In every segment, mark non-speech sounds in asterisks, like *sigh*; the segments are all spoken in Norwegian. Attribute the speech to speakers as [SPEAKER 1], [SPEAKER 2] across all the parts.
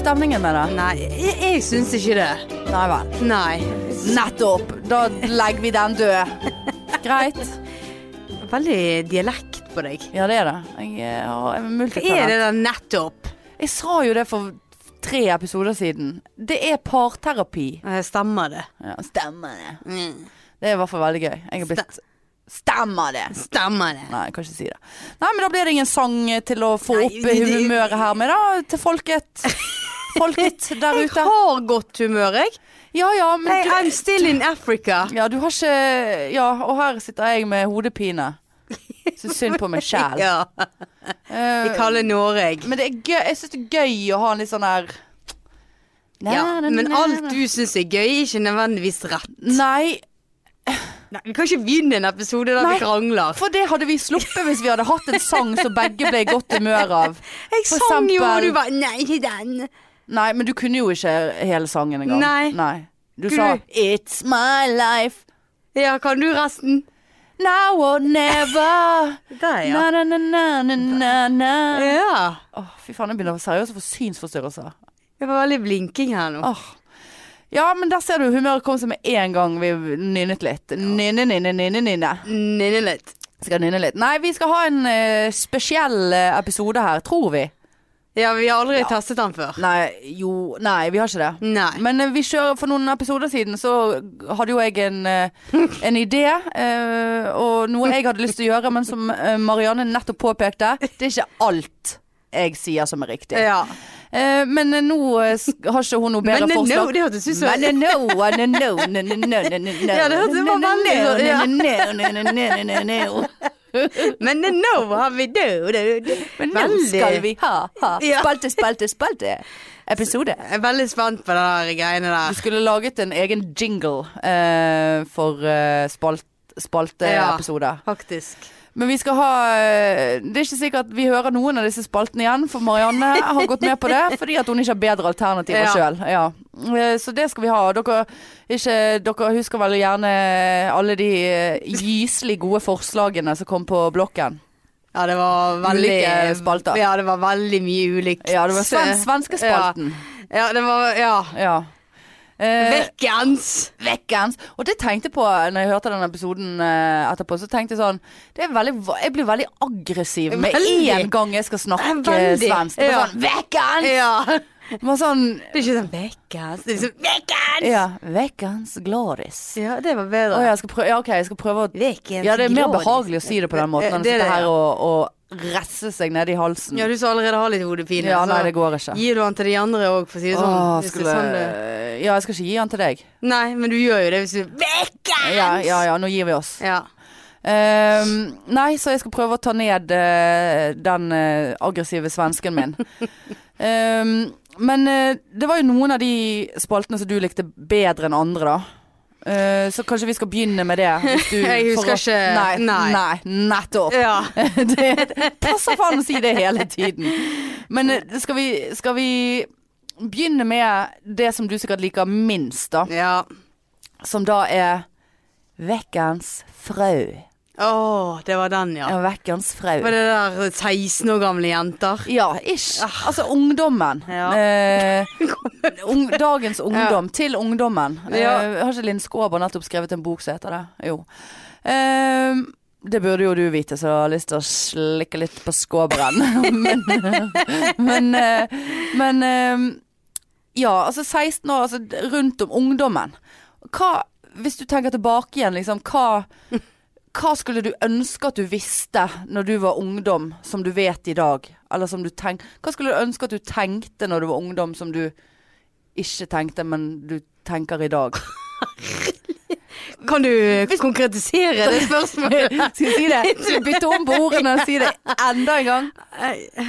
[SPEAKER 1] stemningen med det.
[SPEAKER 2] Nei, jeg, jeg syns ikke det.
[SPEAKER 1] Nei vel.
[SPEAKER 2] Nei.
[SPEAKER 1] Nettopp! Da legger vi den død. Greit.
[SPEAKER 2] Veldig dialekt på deg.
[SPEAKER 1] Ja, det er det. Jeg eh, har jeg er
[SPEAKER 2] Hva er det
[SPEAKER 1] multitalent.
[SPEAKER 2] der nettopp?
[SPEAKER 1] Jeg sa jo det for tre episoder siden. Det er parterapi.
[SPEAKER 2] Eh, Stemmer det?
[SPEAKER 1] Ja, stemmer det. Det er i hvert fall veldig gøy. Jeg har blitt Stemmer det!
[SPEAKER 2] Stemmer det?
[SPEAKER 1] Nei, jeg kan ikke si det. Nei, men da blir det ingen sang til å få
[SPEAKER 2] Nei,
[SPEAKER 1] opp
[SPEAKER 2] det-
[SPEAKER 1] humøret her med, da. Til folket. *laughs* Folket der
[SPEAKER 2] Jeg
[SPEAKER 1] ute.
[SPEAKER 2] har godt humør, jeg.
[SPEAKER 1] Ja ja, men
[SPEAKER 2] Hey,
[SPEAKER 1] du
[SPEAKER 2] I'm still in Africa.
[SPEAKER 1] Ja, du har ikke Ja, og her sitter jeg med hodepine. Syns synd *laughs* på meg sjæl.
[SPEAKER 2] *laughs* Ja. Jeg kaller Noreg.
[SPEAKER 1] Eh, Men det er gøy, jeg syns det er gøy å ha en litt sånn her
[SPEAKER 2] Ja. Men alt du syns er gøy, er ikke nødvendigvis rett.
[SPEAKER 1] Nei,
[SPEAKER 2] Nei, vi kan ikke begynne en episode der
[SPEAKER 1] Nei.
[SPEAKER 2] vi krangler.
[SPEAKER 1] for det hadde vi sluppet hvis vi hadde hatt en sang som begge ble i godt humør av.
[SPEAKER 2] Jeg
[SPEAKER 1] for
[SPEAKER 2] sang jo,
[SPEAKER 1] eksempel-
[SPEAKER 2] og du bare Nei, ikke den.
[SPEAKER 1] Nei, men du kunne jo ikke hele sangen engang.
[SPEAKER 2] Nei.
[SPEAKER 1] Du
[SPEAKER 2] Skulle
[SPEAKER 1] sa
[SPEAKER 2] du-
[SPEAKER 1] It's my life
[SPEAKER 2] Ja, kan du resten?
[SPEAKER 1] now or never.
[SPEAKER 2] Der,
[SPEAKER 1] Na, na, na, na, na, na, na.
[SPEAKER 2] Ja.
[SPEAKER 1] Åh, fy faen, jeg begynner seriøst å få synsforstyrrelser.
[SPEAKER 2] Det var veldig blinking her nå.
[SPEAKER 1] Åh. Ja, men der ser du humøret kom seg med en gang vi nynnet litt. Nynne, nynne, nynne, nynne.
[SPEAKER 2] Nynne litt.
[SPEAKER 1] Skal nynne litt. Nei, vi skal ha en eh, spesiell eh, episode her, tror vi.
[SPEAKER 2] Ja, vi har aldri testet den før.
[SPEAKER 1] Nei, jo Nei, vi har ikke det.
[SPEAKER 2] Nei.
[SPEAKER 1] Men eh, vi kjører, for noen episoder siden så hadde jo jeg en, eh, en idé, eh, og noe jeg hadde lyst til å gjøre, men som eh, Marianne nettopp påpekte, det er ikke alt jeg sier som er riktig.
[SPEAKER 2] Ja.
[SPEAKER 1] Eh, men eh, nå eh, sk- har ikke hun noe bedre
[SPEAKER 2] Men eh,
[SPEAKER 1] forslag.
[SPEAKER 2] no, det hørtes ut som
[SPEAKER 1] Men no, no, no, no, no, no, no, no, no.
[SPEAKER 2] Ja, det hørtes- det var veldig sånn, ja.
[SPEAKER 1] No, no, no, no, no, no, no.
[SPEAKER 2] Men eh, no, har vi do, do, do.
[SPEAKER 1] Men nå skal vi ha, ha.
[SPEAKER 2] Ja.
[SPEAKER 1] Spalte, spalte, spalte. Episode.
[SPEAKER 2] Jeg er veldig spent på de der greiene
[SPEAKER 1] Du
[SPEAKER 2] der.
[SPEAKER 1] skulle laget en egen jingle eh, for eh, spalt,
[SPEAKER 2] Ja.
[SPEAKER 1] spalteepisode.
[SPEAKER 2] Faktisk.
[SPEAKER 1] Men vi skal ha eh, Det er ikke sikkert vi hører noen av disse spaltene igjen, for Marianne har gått med på det *laughs* fordi at hun ikke har bedre alternativer
[SPEAKER 2] Ja.
[SPEAKER 1] selv sjøl. Ja. Eh, Så det skal vi ha. Dere, ikke, dere husker vel gjerne alle de eh, gyselig gode forslagene som kom på blokken.
[SPEAKER 2] Ja, det var veldig
[SPEAKER 1] Ulike eh, spalter.
[SPEAKER 2] Ja, det var veldig mye ulikt.
[SPEAKER 1] Ja, det var sven svenskespalten.
[SPEAKER 2] Ja. ja, det var Ja.
[SPEAKER 1] Ja. Eh,
[SPEAKER 2] Vekkens!
[SPEAKER 1] Vekkens. Og det tenkte jeg på eh, når jeg hørte den episoden eh, etterpå. Så tenkte jeg sånn det er veldig, va- Jeg blir veldig aggressiv med
[SPEAKER 2] Veldig.
[SPEAKER 1] en gang jeg skal snakke
[SPEAKER 2] Ja, veldig.
[SPEAKER 1] eh, svensk. Det var
[SPEAKER 2] Ja.
[SPEAKER 1] sånn Vekkens!
[SPEAKER 2] Ja.
[SPEAKER 1] Det var sånn
[SPEAKER 2] Det er ikke sånn Vekkens. Det er liksom Vekkens!
[SPEAKER 1] Ja. Vekkens Gloris.
[SPEAKER 2] Ja, det var bedre.
[SPEAKER 1] Å, jeg skal prøve, ja, OK, jeg skal prøve å
[SPEAKER 2] Vekkens
[SPEAKER 1] Ja, det er mer
[SPEAKER 2] gloris. Eh,
[SPEAKER 1] behagelig å si det på den måten enn å
[SPEAKER 2] Det er
[SPEAKER 1] sitte
[SPEAKER 2] det,
[SPEAKER 1] her
[SPEAKER 2] ja.
[SPEAKER 1] og, og resse seg ned i halsen.
[SPEAKER 2] Ja, du som allerede har litt hodepine.
[SPEAKER 1] Mm. Ja,
[SPEAKER 2] så
[SPEAKER 1] nei, det går ikke.
[SPEAKER 2] Gir du den til de andre òg, for å si altså. det sånn?
[SPEAKER 1] Åh,
[SPEAKER 2] Hvis det er
[SPEAKER 1] skulle
[SPEAKER 2] sånn det-
[SPEAKER 1] Ja, jeg skal ikke gi den til deg.
[SPEAKER 2] Nei, men du gjør jo det hvis du Vekkens!
[SPEAKER 1] Ja, ja, ja, nå gir vi oss.
[SPEAKER 2] Ja.
[SPEAKER 1] Ehm, nei, så jeg skal prøve å ta ned eh, den eh, aggressive svensken
[SPEAKER 2] *laughs*
[SPEAKER 1] min. Ehm, men eh, det var jo noen av de spaltene som du likte bedre enn andre, da. Eh, så kanskje vi skal begynne med det. hvis du-
[SPEAKER 2] *laughs* Jeg
[SPEAKER 1] for
[SPEAKER 2] husker
[SPEAKER 1] å-
[SPEAKER 2] ikke-
[SPEAKER 1] Nei,
[SPEAKER 2] nei.
[SPEAKER 1] nei, nettopp.
[SPEAKER 2] ja.
[SPEAKER 1] det passer faen å si det hele tiden. Men eh, skal vi, skal vi begynne med det som du sikkert liker minst, da. *laughs*
[SPEAKER 2] Ja.
[SPEAKER 1] Som da er Vekkens frø.
[SPEAKER 2] Åh, det var den, ja.
[SPEAKER 1] Ja, Vekkens frø.
[SPEAKER 2] Var det der 16 år gamle jenter?
[SPEAKER 1] Ja, ish. Altså ungdommen.
[SPEAKER 2] Ja.
[SPEAKER 1] Eh, ung, dagens ungdom til ungdommen. Eh,
[SPEAKER 2] Ja.
[SPEAKER 1] har ikke Linn Skåber nettopp skrevet en bok som heter det? Jo. Eh, det burde jo du vite, så jeg har lyst til å slikke litt på skåberen. *laughs* men men, eh, men eh, ja, altså 16 år, altså rundt om ungdommen. Hva, hvis du tenker tilbake igjen, liksom, hva, hva skulle du ønske at du visste når du var ungdom, som du vet i dag? Eller som du tenk, hva skulle du ønske at du tenkte når du var ungdom, som du ikke tenkte, men du tenker i dag? *laughs*
[SPEAKER 2] Kan du eh, konkretisere det
[SPEAKER 1] *laughs*
[SPEAKER 2] spørsmålet?
[SPEAKER 1] Skal jeg si det? Skal jeg bytte om på ordene og si det enda en gang?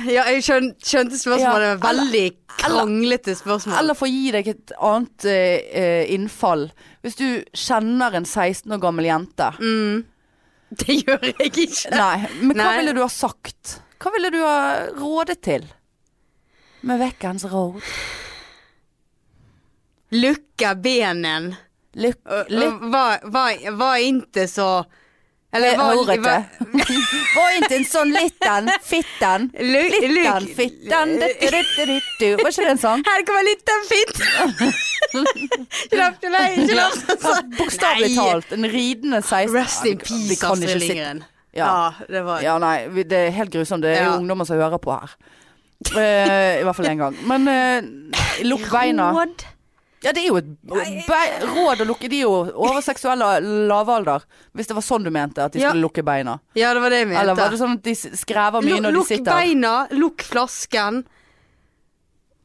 [SPEAKER 2] ja, jeg skjøn, skjønte spørsmålet.
[SPEAKER 1] Ja,
[SPEAKER 2] var Veldig kranglete spørsmål.
[SPEAKER 1] Eller for å gi deg et annet eh, eh, innfall. Hvis du kjenner en 16 år gammel jente.
[SPEAKER 2] *laughs* Mm. det gjør jeg ikke.
[SPEAKER 1] Nei, men hva
[SPEAKER 2] Nei.
[SPEAKER 1] ville du ha sagt? Hva ville du ha rådet til? Med vekkens råd.
[SPEAKER 2] Lukke benen.
[SPEAKER 1] Lykke,
[SPEAKER 2] Øh, Var, var, var inte så Eller hva- *laughs*
[SPEAKER 1] Horete. Point in sånn litten, fitten.
[SPEAKER 2] Lu-
[SPEAKER 1] Litten,
[SPEAKER 2] Luke-
[SPEAKER 1] fitten, dittu-dittu-dittu. Var ikke det en sang?
[SPEAKER 2] Her kommer litt av *laughs* fint! Slapp til deg, ikke lov
[SPEAKER 1] Bokstavelig
[SPEAKER 2] Nei.
[SPEAKER 1] talt. En ridende 16
[SPEAKER 2] Rest in
[SPEAKER 1] Vi
[SPEAKER 2] peace,
[SPEAKER 1] kan ikke
[SPEAKER 2] Astrid
[SPEAKER 1] sitte-
[SPEAKER 2] Lindgren.
[SPEAKER 1] Ja.
[SPEAKER 2] det var
[SPEAKER 1] Ja, nei, vi- det er helt grusomt. Det er jo
[SPEAKER 2] Ja.
[SPEAKER 1] ungdommer som hører på her. Eh, I hvert fall én gang. Men eh, lukk beina.
[SPEAKER 2] Råd.
[SPEAKER 1] Ja, det er jo et bei- råd å lukke De er jo over seksuell lavalder. Hvis det var sånn du mente at de
[SPEAKER 2] Ja.
[SPEAKER 1] skulle lukke beina.
[SPEAKER 2] Ja, det var det jeg mente.
[SPEAKER 1] Eller var det sånn at de s- skrever mye når de
[SPEAKER 2] Lukk
[SPEAKER 1] sitter?
[SPEAKER 2] beina, lukk flasken.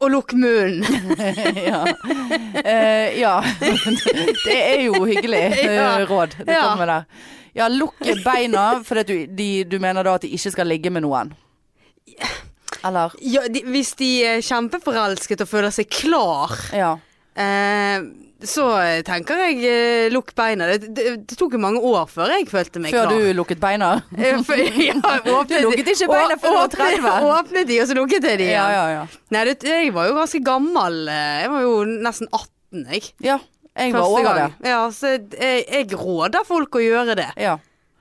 [SPEAKER 2] Og lukk
[SPEAKER 1] *laughs*
[SPEAKER 2] munnen.
[SPEAKER 1] ja. Eh, ja.
[SPEAKER 2] *laughs*
[SPEAKER 1] det er jo hyggelig eh,
[SPEAKER 2] Ja.
[SPEAKER 1] råd. Det
[SPEAKER 2] Ja.
[SPEAKER 1] kommer der. Ja, lukk beina, for at du, de, du mener da at de ikke skal ligge med noen. Eller?
[SPEAKER 2] Ja, de, hvis de er kjempeforelsket og føler seg klar,
[SPEAKER 1] Ja.
[SPEAKER 2] eh, så tenker jeg eh, lukk beina. Det, det, det tok jo mange år før jeg følte meg
[SPEAKER 1] Før
[SPEAKER 2] klar.
[SPEAKER 1] du lukket beina?
[SPEAKER 2] Eh, før- *laughs* ja, åpnet,
[SPEAKER 1] Du lukket ikke beina før du var 30.
[SPEAKER 2] *laughs* Åpnet de, og så lukket jeg de
[SPEAKER 1] Ja,
[SPEAKER 2] igjen.
[SPEAKER 1] ja, ja.
[SPEAKER 2] Nei, det, jeg var jo ganske gammel. eh, Jeg var jo nesten 18, jeg.
[SPEAKER 1] ja jeg var over det.
[SPEAKER 2] Ja, så jeg, jeg råder folk å gjøre det.
[SPEAKER 1] Ja.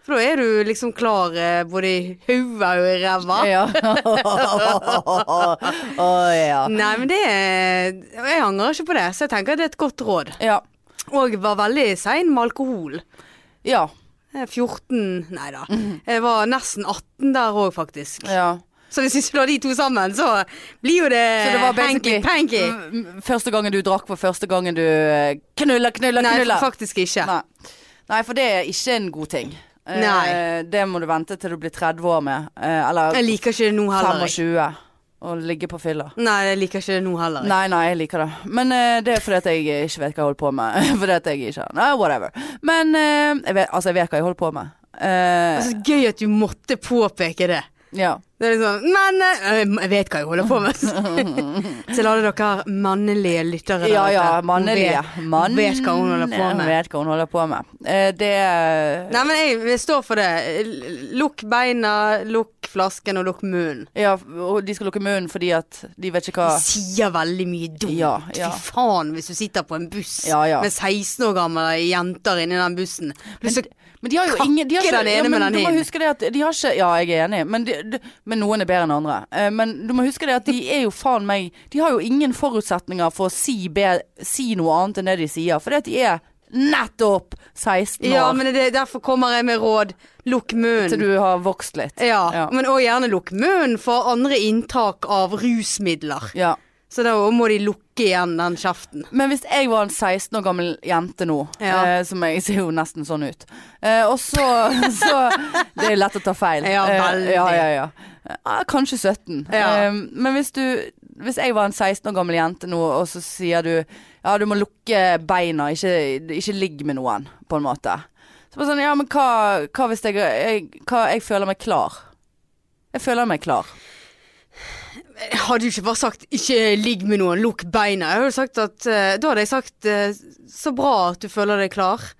[SPEAKER 2] For da er du liksom klar eh, både i hodet og i ræva.
[SPEAKER 1] ja. *laughs* Å ja.
[SPEAKER 2] Nei, men det er Jeg angrer ikke på det, så jeg tenker det er et godt råd.
[SPEAKER 1] Ja.
[SPEAKER 2] Og var veldig sein med alkohol.
[SPEAKER 1] Ja.
[SPEAKER 2] Jeg er 14 Nei da.
[SPEAKER 1] Mhm.
[SPEAKER 2] Jeg var nesten 18 der òg, faktisk.
[SPEAKER 1] ja.
[SPEAKER 2] Så hvis vi slår de to sammen, så blir jo det,
[SPEAKER 1] Så det
[SPEAKER 2] Eh,
[SPEAKER 1] var basically Mm.
[SPEAKER 2] hanky-panky.
[SPEAKER 1] m- Første gangen du drakk var første gangen du eh, knulla, knulla,
[SPEAKER 2] Nei,
[SPEAKER 1] knulla.
[SPEAKER 2] faktisk ikke.
[SPEAKER 1] Nei. Nei, for det er ikke en god ting. Eh,
[SPEAKER 2] Nei.
[SPEAKER 1] Det må du vente til du blir 30 år med. eh, Eller
[SPEAKER 2] Jeg liker ikke det nå heller. jeg.
[SPEAKER 1] 25 og ligge på fylla.
[SPEAKER 2] Nei, jeg liker ikke det nå heller. jeg.
[SPEAKER 1] Nei, nei, jeg liker det. Men eh, det er fordi at jeg ikke vet hva jeg holder på med. *laughs* fordi at jeg ikke Nei, whatever. Men eh, jeg vet, altså, jeg vet hva jeg holder på med. Eh,
[SPEAKER 2] Altså, gøy at du måtte påpeke det.
[SPEAKER 1] ja.
[SPEAKER 2] Det er liksom, men eh, jeg vet hva jeg holder på
[SPEAKER 1] *laughs*
[SPEAKER 2] med. Til alle dere mannlige lyttere der
[SPEAKER 1] ja, ja,
[SPEAKER 2] ute.
[SPEAKER 1] mannlige.
[SPEAKER 2] Hun vet-
[SPEAKER 1] Mann-
[SPEAKER 2] hun vet hva hun holder på med.
[SPEAKER 1] Vet hva hun holder på med. Eh, det
[SPEAKER 2] Nei, men jeg, jeg står for det. L- Lukk beina, lukk flasken og lukk munnen.
[SPEAKER 1] Ja, og de skal lukke munnen fordi at de vet ikke hva
[SPEAKER 2] Du sier veldig mye dumt.
[SPEAKER 1] Ja, ja.
[SPEAKER 2] Fy faen hvis du sitter på en buss
[SPEAKER 1] Ja, ja.
[SPEAKER 2] med 16 år gamle jenter inni den bussen. Men, så,
[SPEAKER 1] Men de har jo
[SPEAKER 2] Kakke
[SPEAKER 1] ingen de har ikke,
[SPEAKER 2] den ene
[SPEAKER 1] ja,
[SPEAKER 2] med
[SPEAKER 1] men
[SPEAKER 2] den
[SPEAKER 1] Du må
[SPEAKER 2] inn.
[SPEAKER 1] huske det at de har ikke Ja, jeg er enig, men, de, de, men noen er bedre enn andre. Eh, Men du må huske det at de er jo faen meg De har jo ingen forutsetninger for å si, be, si noe annet enn det de sier. Fordi at de er nettopp 16 år
[SPEAKER 2] ja, men det, derfor kommer jeg med råd. Lukk munnen.
[SPEAKER 1] til du har vokst litt.
[SPEAKER 2] Ja,
[SPEAKER 1] Ja.
[SPEAKER 2] men òg gjerne lukk munnen for andre inntak av rusmidler.
[SPEAKER 1] Ja.
[SPEAKER 2] Så da må de lukke igjen den kjeften.
[SPEAKER 1] Men hvis jeg var en 16 år gammel jente nå,
[SPEAKER 2] Ja.
[SPEAKER 1] eh, som jeg ser jo nesten sånn ut eh, Og så, *laughs* så Det er lett å ta feil.
[SPEAKER 2] Ja,
[SPEAKER 1] Eh,
[SPEAKER 2] veldig.
[SPEAKER 1] ja, ja, ja. Eh, kanskje 17.
[SPEAKER 2] Ja.
[SPEAKER 1] Eh, men hvis du Hvis jeg var en 16 år gammel jente nå, og så sier du Ja, du må lukke beina, ikke, ikke ligg med noen, på en måte. Så bare sånn Ja, men hva, hva hvis jeg, jeg hva, Jeg føler meg klar. Jeg føler meg klar.
[SPEAKER 2] Jeg hadde jo ikke bare sagt 'ikke ligg med noen, lukk beina'. Jeg hadde sagt at, eh, da hadde jeg sagt eh, 'så bra at du føler deg klar'.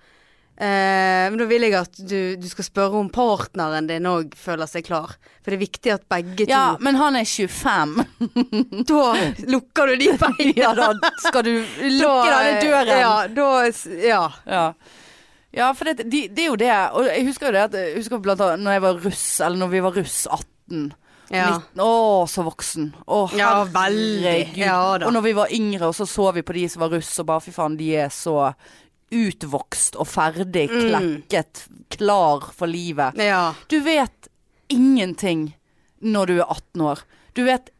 [SPEAKER 2] Eh, men da vil jeg at du, du skal spørre om partneren din òg føler seg klar. For det er viktig at begge
[SPEAKER 1] Ja, men han er 25.
[SPEAKER 2] to *laughs* Da lukker du de beina.
[SPEAKER 1] *laughs* ja, da skal du lukke denne døren.
[SPEAKER 2] Ja, da s- Ja.
[SPEAKER 1] Ja. Ja, for det, de, det er jo det. Og jeg husker jo det at jeg husker blant annet når jeg var russ, eller når vi var russ 18.
[SPEAKER 2] ja.
[SPEAKER 1] 19, å, så voksen. Å,
[SPEAKER 2] Ja, veldig.
[SPEAKER 1] herregud.
[SPEAKER 2] Ja da.
[SPEAKER 1] og når vi var yngre, og så så vi på de som var russ, og bare fy faen, de er så utvokst og ferdig,
[SPEAKER 2] Mm.
[SPEAKER 1] klekket, klar for livet.
[SPEAKER 2] ja.
[SPEAKER 1] Du vet ingenting når du er 18 år. Du vet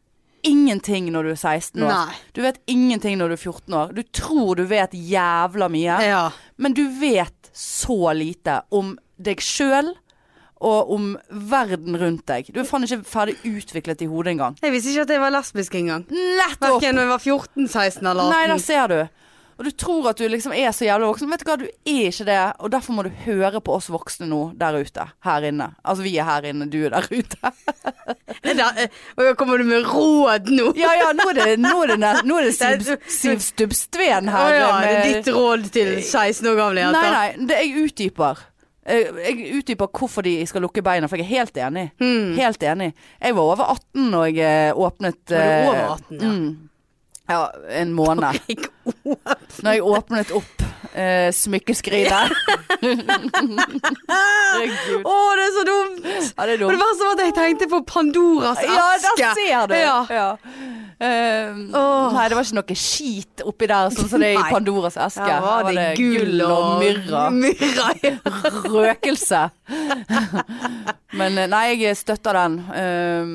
[SPEAKER 1] ingenting når du er 16 år.
[SPEAKER 2] Nei.
[SPEAKER 1] Du vet ingenting når du er 14 år. Du tror du vet jævla mye.
[SPEAKER 2] ja.
[SPEAKER 1] Men du vet så lite om deg sjøl og om verden rundt deg. Du er faen ikke ferdig utviklet i hodet engang.
[SPEAKER 2] Jeg visste ikke at jeg var lesbisk engang.
[SPEAKER 1] Nettopp!
[SPEAKER 2] Verken da jeg var 14, 16 eller 18.
[SPEAKER 1] Nei,
[SPEAKER 2] *laughs*
[SPEAKER 1] der ser du. Og du tror at du liksom er så jævla voksen. Vet du hva, du er ikke det. Og derfor må du høre på oss voksne nå der ute. Her inne. Altså vi er her inne, du er der ute.
[SPEAKER 2] Det der, eh, og kommer du med råd nå?
[SPEAKER 1] Ja ja, nå er det, nå er det, ne- nå er *laughs* det
[SPEAKER 2] Det er-
[SPEAKER 1] Siv, Siv Stubbstveen
[SPEAKER 2] Å
[SPEAKER 1] her.
[SPEAKER 2] ja, det er
[SPEAKER 1] med-
[SPEAKER 2] ditt råd til 16 år gamle jenter?
[SPEAKER 1] Eh, Nei, nei, det, jeg utdyper. Jeg, jeg utdyper hvorfor de skal lukke beina, for jeg er helt enig.
[SPEAKER 2] Hmm.
[SPEAKER 1] Helt enig. Jeg var over 18 når jeg eh, åpnet
[SPEAKER 2] Var du
[SPEAKER 1] eh,
[SPEAKER 2] over 18, ja?
[SPEAKER 1] mm, ja, en måned.
[SPEAKER 2] Ikke ord.
[SPEAKER 1] Når jeg åpnet opp eh, smykkeskrinet. *laughs* Herregud.
[SPEAKER 2] Å, det er så dumt!
[SPEAKER 1] Ja, det er
[SPEAKER 2] Og det
[SPEAKER 1] dumt.
[SPEAKER 2] verste var at jeg tenkte på Pandoras eske.
[SPEAKER 1] Ja, der ser du.
[SPEAKER 2] Ja.
[SPEAKER 1] Ja. Ehm,
[SPEAKER 2] Åh.
[SPEAKER 1] Nei, det var ikke noe skit oppi der, sånn som det er i
[SPEAKER 2] Nei.
[SPEAKER 1] Pandoras eske.
[SPEAKER 2] Ja, var
[SPEAKER 1] Her
[SPEAKER 2] det gull og
[SPEAKER 1] myrra.
[SPEAKER 2] *laughs* myrra ja.
[SPEAKER 1] Røkelse. Men eh, nei, jeg støtter den. Ehm,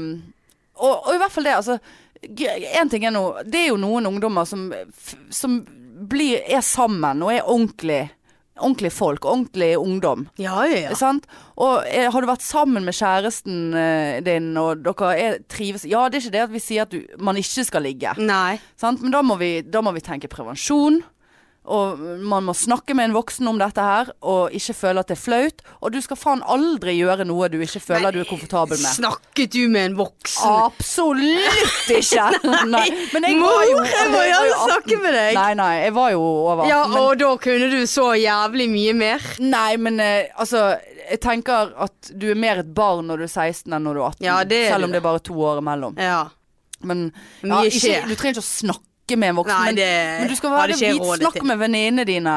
[SPEAKER 1] og, og i hvert fall det, altså. Én ting er nå Det er jo noen ungdommer som, f- som blir, er sammen og er ordentlig, ordentlig folk. Ordentlig ungdom.
[SPEAKER 2] Ja, ja, ja.
[SPEAKER 1] Sant? Og eh, har du vært sammen med kjæresten eh, din, og dere er, trives Ja, det er ikke det at vi sier at du, man ikke skal ligge,
[SPEAKER 2] Nei.
[SPEAKER 1] sant? men da må, vi, da må vi tenke prevensjon. Og man må snakke med en voksen om dette her, og ikke føle at det er flaut. Og du skal faen aldri gjøre noe du ikke føler du er komfortabel med. Ah,
[SPEAKER 2] Snakket du med en voksen? *laughs*
[SPEAKER 1] Absolutt ikke! Nei. Men jeg
[SPEAKER 2] Mor,
[SPEAKER 1] var jo
[SPEAKER 2] jeg må
[SPEAKER 1] var jo
[SPEAKER 2] gjerne snakke
[SPEAKER 1] 18.
[SPEAKER 2] med deg.
[SPEAKER 1] Nei, nei, jeg var jo over.
[SPEAKER 2] Ja,
[SPEAKER 1] men-
[SPEAKER 2] og da kunne du så jævlig mye mer.
[SPEAKER 1] Nei, men eh, altså Jeg tenker at du er mer et barn når du er 16 enn når du er 18.
[SPEAKER 2] Ja, det er
[SPEAKER 1] selv
[SPEAKER 2] du.
[SPEAKER 1] om det er bare to år imellom.
[SPEAKER 2] Ja.
[SPEAKER 1] Men ja,
[SPEAKER 2] Mye
[SPEAKER 1] ikke,
[SPEAKER 2] skjer.
[SPEAKER 1] du trenger ikke å snakke med en voksen.
[SPEAKER 2] Nei,
[SPEAKER 1] men,
[SPEAKER 2] det
[SPEAKER 1] men du skal
[SPEAKER 2] hadde
[SPEAKER 1] være
[SPEAKER 2] ikke jeg
[SPEAKER 1] vit,
[SPEAKER 2] rådet
[SPEAKER 1] snakk
[SPEAKER 2] til.
[SPEAKER 1] med venninnene dine.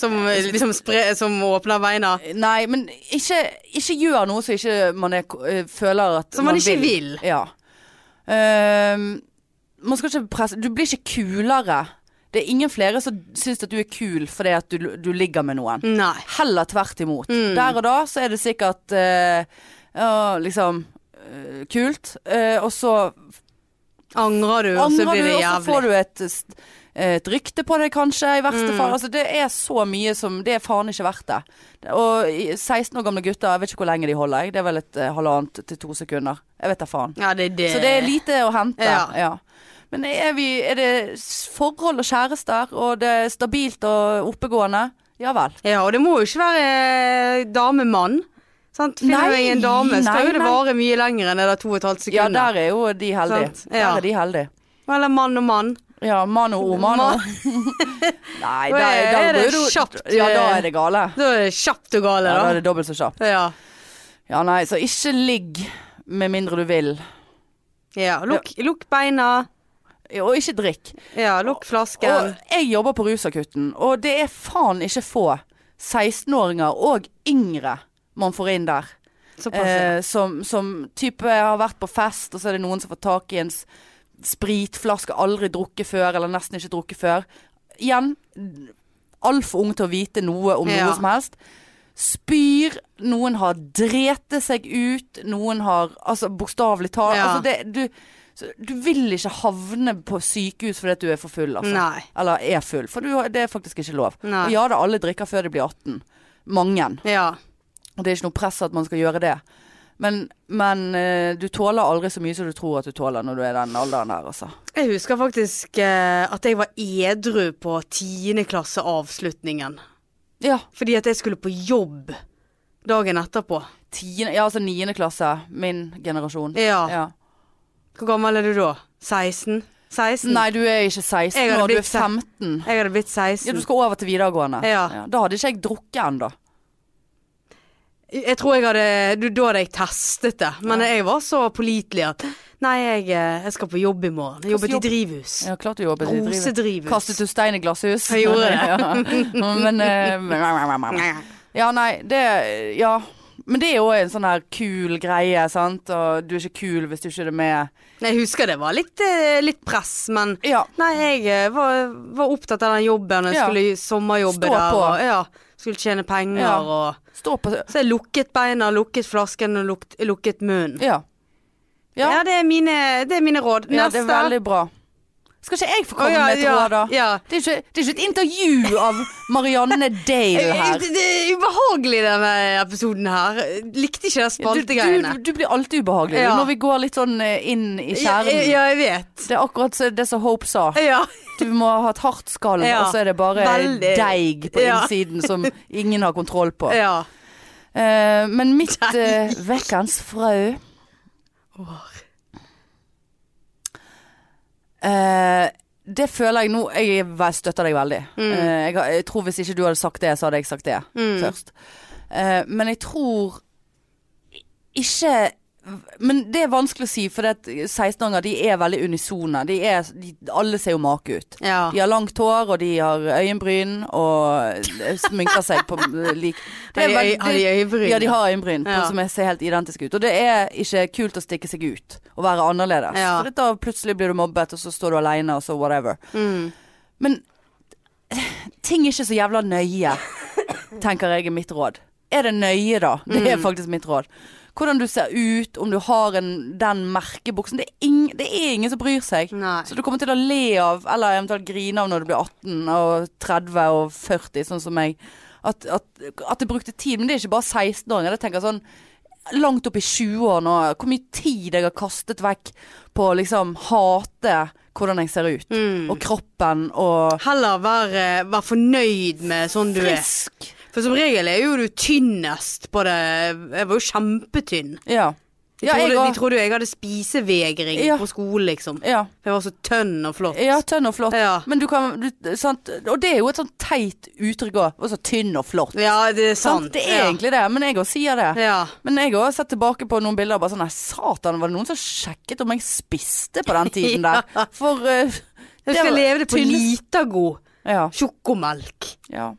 [SPEAKER 2] Som, eh, liksom spre, som åpner beina.
[SPEAKER 1] Nei, men ikke, ikke gjør noe som ikke man er, eh, føler at
[SPEAKER 2] Som man ikke vil.
[SPEAKER 1] Ja. Ehm, man skal ikke presse Du blir ikke kulere. Det er ingen flere som syns at du er kul fordi at du, du ligger med noen.
[SPEAKER 2] Nei.
[SPEAKER 1] Heller tvert imot.
[SPEAKER 2] Mm.
[SPEAKER 1] Der og da så er det sikkert eh, ja, liksom eh, kult. Eh, og så
[SPEAKER 2] Angrer du, og så
[SPEAKER 1] angrer
[SPEAKER 2] blir
[SPEAKER 1] du,
[SPEAKER 2] det
[SPEAKER 1] og så får
[SPEAKER 2] jævlig.
[SPEAKER 1] du et, st- et rykte på deg kanskje, i verste
[SPEAKER 2] Mm.
[SPEAKER 1] fall. Altså, det er så mye som Det er faen ikke verdt det. Og i- 16 år gamle gutter, jeg vet ikke hvor lenge de holder, jeg. Det er vel et eh, halvannet til to sekunder. Jeg vet da faen.
[SPEAKER 2] Ja, det er det.
[SPEAKER 1] Så det er lite å hente.
[SPEAKER 2] Ja.
[SPEAKER 1] Ja. Men er, vi, er det s- forhold og kjærester, og det er stabilt og oppegående? Ja vel.
[SPEAKER 2] Ja, og det må jo ikke være eh, dame-mann. Sant? Finner
[SPEAKER 1] Nei,
[SPEAKER 2] du en dame, så
[SPEAKER 1] nei,
[SPEAKER 2] kan jo det
[SPEAKER 1] nei.
[SPEAKER 2] vare mye lenger enn det der to og et halvt
[SPEAKER 1] Ja,
[SPEAKER 2] sekunder.
[SPEAKER 1] der er jo de heldige.
[SPEAKER 2] Sant?
[SPEAKER 1] Der
[SPEAKER 2] Ja.
[SPEAKER 1] er de heldige.
[SPEAKER 2] Eller mann og mann.
[SPEAKER 1] Ja, mano o mano.
[SPEAKER 2] Man-
[SPEAKER 1] *laughs*
[SPEAKER 2] *laughs*
[SPEAKER 1] Nei,
[SPEAKER 2] Da
[SPEAKER 1] da,
[SPEAKER 2] er-
[SPEAKER 1] da
[SPEAKER 2] er det
[SPEAKER 1] bør du-
[SPEAKER 2] kjapt,
[SPEAKER 1] Ja, da
[SPEAKER 2] eh,
[SPEAKER 1] er det gale.
[SPEAKER 2] Da er det kjapt og gale,
[SPEAKER 1] Ja, da er
[SPEAKER 2] da.
[SPEAKER 1] det dobbelt så kjapt.
[SPEAKER 2] Ja,
[SPEAKER 1] Ja, nei, så ikke ligg med mindre du vil.
[SPEAKER 2] ja. Lukk, lukk beina.
[SPEAKER 1] Og ikke drikk.
[SPEAKER 2] Ja, lukk flasken.
[SPEAKER 1] Og jeg jobber på Rusakutten, og det er faen ikke få 16-åringer og yngre man får inn der.
[SPEAKER 2] Såpass. ja.
[SPEAKER 1] Eh, som, som type har vært på fest, og så er det noen som får tak i en s- spritflaske aldri drukket før, eller nesten ikke drukket før. Igjen, altfor ung til å vite noe om
[SPEAKER 2] Ja.
[SPEAKER 1] noe som helst. Spyr, noen har drete seg ut, noen har altså bokstavelig talt
[SPEAKER 2] Ja.
[SPEAKER 1] altså, det- du, så du vil ikke havne på sykehus fordi at du er for full, altså.
[SPEAKER 2] Nei.
[SPEAKER 1] Eller er full, for du, har- det er faktisk ikke lov.
[SPEAKER 2] Nei.
[SPEAKER 1] Og ja da, alle drikker før de blir 18. Mange.
[SPEAKER 2] Ja.
[SPEAKER 1] Og det er ikke noe press at man skal gjøre det. Men, men eh, du tåler aldri så mye som du tror at du tåler når du er den alderen der, altså.
[SPEAKER 2] Jeg husker faktisk eh, at jeg var edru på tiendeklasseavslutningen.
[SPEAKER 1] Ja.
[SPEAKER 2] Fordi at jeg skulle på jobb dagen etterpå.
[SPEAKER 1] Tiende, ja, altså niende klasse. Min generasjon.
[SPEAKER 2] Ja.
[SPEAKER 1] Ja.
[SPEAKER 2] Hvor gammel er du da? 16? 16?
[SPEAKER 1] Nei, du er ikke 16
[SPEAKER 2] Jeg hadde
[SPEAKER 1] år, du
[SPEAKER 2] blitt
[SPEAKER 1] er
[SPEAKER 2] se-
[SPEAKER 1] 15.
[SPEAKER 2] Jeg hadde blitt 16.
[SPEAKER 1] Ja, du skal over til videregående.
[SPEAKER 2] Ja.
[SPEAKER 1] Da hadde ikke jeg drukket ennå.
[SPEAKER 2] Jeg tror jeg hadde du, Da hadde jeg testet det. Men jeg var så pålitelig at Nei, jeg, eh, jeg skal på jobb i morgen. Jeg jobbet
[SPEAKER 1] jobb?
[SPEAKER 2] i drivhus.
[SPEAKER 1] Ja, klart du jobbet i drivet.
[SPEAKER 2] Rosedrivhus.
[SPEAKER 1] Kastet du stein i glasshus?
[SPEAKER 2] Jeg gjorde det.
[SPEAKER 1] *laughs* ja. Men eh, Ja, nei, det Ja. Men det er jo en sånn her kul greie, sant. Og du er ikke kul hvis du ikke er med.
[SPEAKER 2] Nei, Jeg husker det var litt, eh, litt press, men
[SPEAKER 1] Ja.
[SPEAKER 2] Nei, jeg eh, var, var opptatt av den jobben. Jeg
[SPEAKER 1] Ja.
[SPEAKER 2] skulle i sommerjobbe
[SPEAKER 1] Stå
[SPEAKER 2] der.
[SPEAKER 1] på.
[SPEAKER 2] Og, ja, skulle tjene penger
[SPEAKER 1] Ja.
[SPEAKER 2] og
[SPEAKER 1] Stå på
[SPEAKER 2] Så jeg lukket beina, lukket flasken og lukt, lukket munnen.
[SPEAKER 1] Ja.
[SPEAKER 2] Ja,
[SPEAKER 1] Ja.
[SPEAKER 2] det, er mine, det er mine råd.
[SPEAKER 1] Ja, det
[SPEAKER 2] Neste.
[SPEAKER 1] er veldig bra. Skal ikke jeg få komme
[SPEAKER 2] Å, ja,
[SPEAKER 1] med et
[SPEAKER 2] ja,
[SPEAKER 1] råd, da?
[SPEAKER 2] Ja.
[SPEAKER 1] Det, er ikke, det er ikke et intervju av Marianne Dale her.
[SPEAKER 2] Det er ubehagelig denne episoden her. Likte ikke de
[SPEAKER 1] Du, du,
[SPEAKER 2] spaltegreiene.
[SPEAKER 1] du blir alltid ubehagelig du,
[SPEAKER 2] Ja.
[SPEAKER 1] når vi går litt sånn eh, inn i
[SPEAKER 2] Ja,
[SPEAKER 1] kjernen.
[SPEAKER 2] ja, jeg vet.
[SPEAKER 1] Det er akkurat så- det som Hope sa.
[SPEAKER 2] Ja.
[SPEAKER 1] Du må ha et hardt skall,
[SPEAKER 2] Ja.
[SPEAKER 1] og så er det bare
[SPEAKER 2] Veldig.
[SPEAKER 1] deig på
[SPEAKER 2] Ja.
[SPEAKER 1] innsiden som ingen har kontroll på.
[SPEAKER 2] ja.
[SPEAKER 1] Eh, men mitt uh, vekkens frø Eh, det føler jeg nå Jeg er ve- støtter deg veldig. Eh, jeg, har- jeg tror hvis ikke du hadde sagt det, så hadde jeg sagt det først. Eh, men jeg tror ikke Men det er vanskelig å si, for det at 16-åringer de er veldig unisone. De er, de, alle ser jo make ut.
[SPEAKER 2] Ja.
[SPEAKER 1] De har langt hår, og de har øyenbryn, og sminker seg på
[SPEAKER 2] *laughs*
[SPEAKER 1] lik det
[SPEAKER 2] Har
[SPEAKER 1] er
[SPEAKER 2] de
[SPEAKER 1] veldig-
[SPEAKER 2] øy- har de øyebryn?
[SPEAKER 1] Ja, de har øyenbryn på,
[SPEAKER 2] Ja.
[SPEAKER 1] som er- ser helt identiske ut. Og det er ikke kult å stikke seg ut og være annerledes.
[SPEAKER 2] Ja.
[SPEAKER 1] For da plutselig blir du mobbet, og så står du aleine, og så whatever.
[SPEAKER 2] Mm.
[SPEAKER 1] Men ting er ikke så jævla nøye, tenker jeg er mitt råd. Er det nøye, da? Det
[SPEAKER 2] Mm.
[SPEAKER 1] er faktisk mitt råd. Hvordan du ser ut, om du har en, den merkebuksen. Det er, ing, det er ingen som bryr seg.
[SPEAKER 2] Nei.
[SPEAKER 1] Så du kommer til å le av, eller eventuelt grine av når du blir 18 og 30 og 40, sånn som meg. At, at, at det brukte tid. Men det er ikke bare 16-åringer. Jeg tenker sånn langt opp i 20-år nå. Hvor mye tid jeg har kastet vekk på å liksom hate hvordan jeg ser ut.
[SPEAKER 2] Mm.
[SPEAKER 1] Og kroppen og
[SPEAKER 2] Heller være vær fornøyd med sånn du er.
[SPEAKER 1] frisk.
[SPEAKER 2] For som regel er jo du tynnest på det Jeg var jo kjempetynn.
[SPEAKER 1] Ja.
[SPEAKER 2] De
[SPEAKER 1] Ja,
[SPEAKER 2] trodde,
[SPEAKER 1] jeg
[SPEAKER 2] jeg,
[SPEAKER 1] òg.
[SPEAKER 2] de trodde jo jeg hadde spisevegring
[SPEAKER 1] Ja.
[SPEAKER 2] på skolen, liksom.
[SPEAKER 1] Ja.
[SPEAKER 2] Jeg var så tønn og flott.
[SPEAKER 1] Ja, tønn og flott.
[SPEAKER 2] Ja.
[SPEAKER 1] Men du kan du, sant? Og det er jo et sånn teit uttrykk òg. Og så tynn og flott.
[SPEAKER 2] Sånn, Ja, det er
[SPEAKER 1] Sant?
[SPEAKER 2] sant.
[SPEAKER 1] Det er egentlig det, men jeg òg sier det.
[SPEAKER 2] ja.
[SPEAKER 1] Men jeg har sett tilbake på noen bilder og bare sånn Nei, satan, var det noen som sjekket om jeg spiste på den tiden
[SPEAKER 2] *laughs*
[SPEAKER 1] der? For eh,
[SPEAKER 2] Jeg skal
[SPEAKER 1] var
[SPEAKER 2] leve det på
[SPEAKER 1] tynn-
[SPEAKER 2] Litago.
[SPEAKER 1] Ja.
[SPEAKER 2] Sjokomelk.
[SPEAKER 1] ja.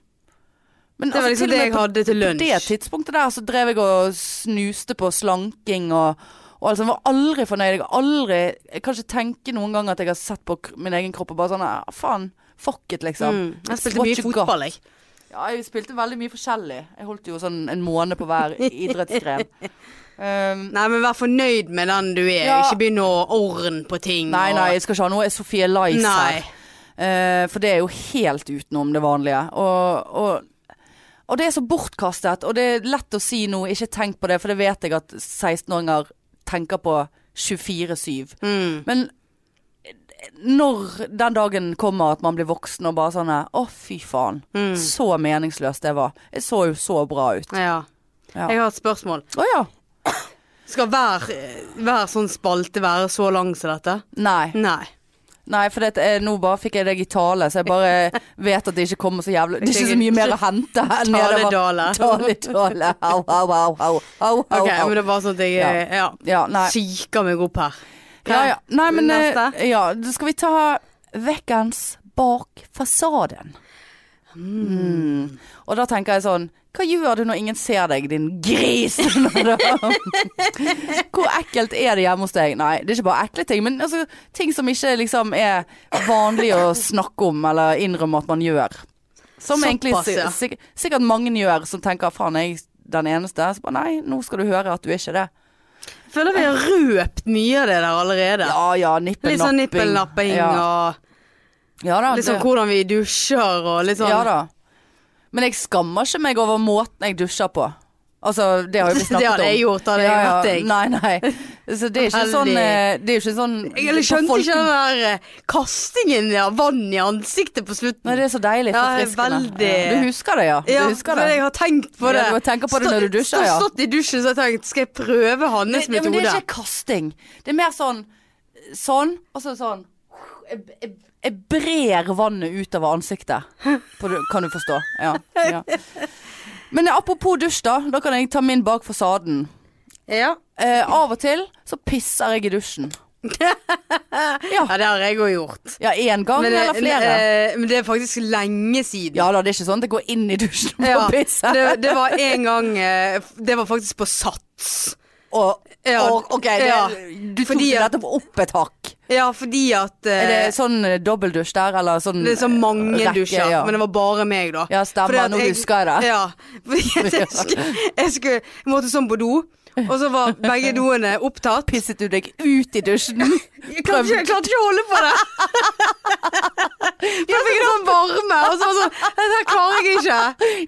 [SPEAKER 1] Men altså,
[SPEAKER 2] Det var liksom
[SPEAKER 1] til og
[SPEAKER 2] det
[SPEAKER 1] med
[SPEAKER 2] jeg
[SPEAKER 1] på-
[SPEAKER 2] hadde til
[SPEAKER 1] På det
[SPEAKER 2] lunsj.
[SPEAKER 1] tidspunktet der så drev jeg og snuste på slanking og, og altså, jeg var aldri fornøyd. Jeg har aldri Jeg kan ikke tenke noen gang at jeg har sett på k- min egen kropp og bare sånn «Ah, Faen, fuck it, liksom.
[SPEAKER 2] Mm. Jeg
[SPEAKER 1] It's
[SPEAKER 2] spilte
[SPEAKER 1] what
[SPEAKER 2] mye
[SPEAKER 1] you got.
[SPEAKER 2] fotball, jeg.
[SPEAKER 1] Ja, jeg spilte veldig mye forskjellig. Jeg holdt jo sånn en måned på
[SPEAKER 2] *laughs*
[SPEAKER 1] hver idrettsgren. Um,
[SPEAKER 2] Nei, men vær fornøyd med den du er.
[SPEAKER 1] Ja.
[SPEAKER 2] Ikke begynn å ordne på ting.
[SPEAKER 1] nei,
[SPEAKER 2] og-
[SPEAKER 1] nei, jeg skal ikke ha noe Sofie Lice her.
[SPEAKER 2] Nei.
[SPEAKER 1] Eh, for det er jo helt utenom det vanlige. Og, og, og det er så bortkastet, og det er lett å si nå, ikke tenk på det, for det vet jeg at 16-åringer tenker på 24-7.
[SPEAKER 2] Mm.
[SPEAKER 1] Men når den dagen kommer at man blir voksen og bare sånn Å, fy faen. Så meningsløst det var. Jeg så jo så bra ut.
[SPEAKER 2] Ja.
[SPEAKER 1] Ja.
[SPEAKER 2] Jeg har et spørsmål.
[SPEAKER 1] Å ja.
[SPEAKER 2] Skal hver, hver sånn spalte være så lang som dette?
[SPEAKER 1] Nei.
[SPEAKER 2] Nei.
[SPEAKER 1] Nei, for dette, er- nå bare fikk jeg deg i tale, så jeg bare vet at det ikke kommer så jævlig Det er ikke så mye mer å hente enn det det var.
[SPEAKER 2] Taledale.
[SPEAKER 1] Tale, tale. Au, au, au, au. au, au,
[SPEAKER 2] Ok,
[SPEAKER 1] au.
[SPEAKER 2] men det er bare sånn at jeg
[SPEAKER 1] Ja.
[SPEAKER 2] ja.
[SPEAKER 1] Ja, nei.
[SPEAKER 2] psyker meg opp her.
[SPEAKER 1] Ja, ja. Nei, men eh,
[SPEAKER 2] Neste.
[SPEAKER 1] ja, da skal vi ta vekkens bak fasaden. Mm. Og da tenker jeg sånn Hva gjør du når ingen ser deg, din gris? *laughs* Hvor ekkelt er det hjemme hos deg? Nei, det er ikke bare ekle ting, men altså, ting som ikke liksom er vanlig å snakke om eller innrømme at man gjør. Som egentlig
[SPEAKER 2] Såpass,
[SPEAKER 1] si-
[SPEAKER 2] ja.
[SPEAKER 1] sik sikkert mange gjør, som tenker faen, er jeg den eneste? Så bare nei, nå skal du høre at du er ikke det.
[SPEAKER 2] Jeg føler vi har røpt mye av det der allerede.
[SPEAKER 1] Ja ja, nippelnapping.
[SPEAKER 2] Litt sånn nippelnapping
[SPEAKER 1] Ja. Ja da,
[SPEAKER 2] og litt sånn
[SPEAKER 1] det-
[SPEAKER 2] hvordan vi dusjer og litt sånn.
[SPEAKER 1] ja da. Men jeg skammer ikke meg over måten jeg dusjer på. Altså, det har jo vi
[SPEAKER 2] *laughs* det
[SPEAKER 1] snakket om.
[SPEAKER 2] hadde jeg gjort, det hadde jeg
[SPEAKER 1] Ja, ja.
[SPEAKER 2] vært jeg.
[SPEAKER 1] Nei, nei. Så det er ikke
[SPEAKER 2] Veldig.
[SPEAKER 1] sånn eh, Det er ikke sånn
[SPEAKER 2] Jeg eller
[SPEAKER 1] på
[SPEAKER 2] skjønte
[SPEAKER 1] folk-
[SPEAKER 2] ikke den der eh, kastingen av vann i ansiktet på slutten.
[SPEAKER 1] Nei, det er så deilig.
[SPEAKER 2] Ja,
[SPEAKER 1] Forfriskende.
[SPEAKER 2] veldig.
[SPEAKER 1] Du husker det, ja. Du
[SPEAKER 2] ja,
[SPEAKER 1] husker
[SPEAKER 2] men
[SPEAKER 1] det.
[SPEAKER 2] jeg har tenkt på
[SPEAKER 1] Ja,
[SPEAKER 2] det.
[SPEAKER 1] du har tenkt på det
[SPEAKER 2] Stå-
[SPEAKER 1] når du dusjer, ja.
[SPEAKER 2] stå- Stått i dusjen så har jeg tenkt, skal jeg prøve
[SPEAKER 1] Det,
[SPEAKER 2] hans
[SPEAKER 1] ja, men det
[SPEAKER 2] metode?
[SPEAKER 1] er ikke kasting. Det er mer sånn sånn, og så sånn Jeg, jeg, jeg brer vannet utover ansiktet. På, du- kan du forstå? Ja.
[SPEAKER 2] *laughs*
[SPEAKER 1] ja. Men apropos dusj, da. Da kan jeg ta min bak fasaden.
[SPEAKER 2] Ja.
[SPEAKER 1] Eh, av og til så pisser jeg i dusjen.
[SPEAKER 2] ja, det har jeg òg gjort.
[SPEAKER 1] Ja, én gang
[SPEAKER 2] Men,
[SPEAKER 1] eller
[SPEAKER 2] eh,
[SPEAKER 1] flere.
[SPEAKER 2] eh, men det er faktisk lenge siden.
[SPEAKER 1] ja da, det er ikke sånn at jeg går inn i dusjen for
[SPEAKER 2] Ja,
[SPEAKER 1] å pisse.
[SPEAKER 2] det, det var en gang eh, Det var faktisk på Sats.
[SPEAKER 1] Og,
[SPEAKER 2] Ja,
[SPEAKER 1] og, ok, det,
[SPEAKER 2] ja.
[SPEAKER 1] du tok
[SPEAKER 2] Fordi
[SPEAKER 1] det
[SPEAKER 2] at-
[SPEAKER 1] nettopp opp et hakk.
[SPEAKER 2] Ja, fordi at eh,
[SPEAKER 1] Er det sånn eh, dobbeldusj der, eller sånn
[SPEAKER 2] Det er så mange
[SPEAKER 1] rekke,
[SPEAKER 2] dusjer,
[SPEAKER 1] ja.
[SPEAKER 2] men det var bare meg, da.
[SPEAKER 1] Ja, stemmer.
[SPEAKER 2] Fordi at
[SPEAKER 1] Nå husker jeg det.
[SPEAKER 2] Ja, fordi
[SPEAKER 1] *laughs*
[SPEAKER 2] at jeg, skulle, jeg, skulle, jeg måtte sånn på do, og så var
[SPEAKER 1] *laughs*
[SPEAKER 2] begge doene opptatt.
[SPEAKER 1] Pisset du deg ut i dusjen? *laughs*
[SPEAKER 2] Jeg klarte ikke, jeg klarte ikke å holde på det! For jeg fikk sånn varme, og så var det sånn Dette her klarer jeg ikke.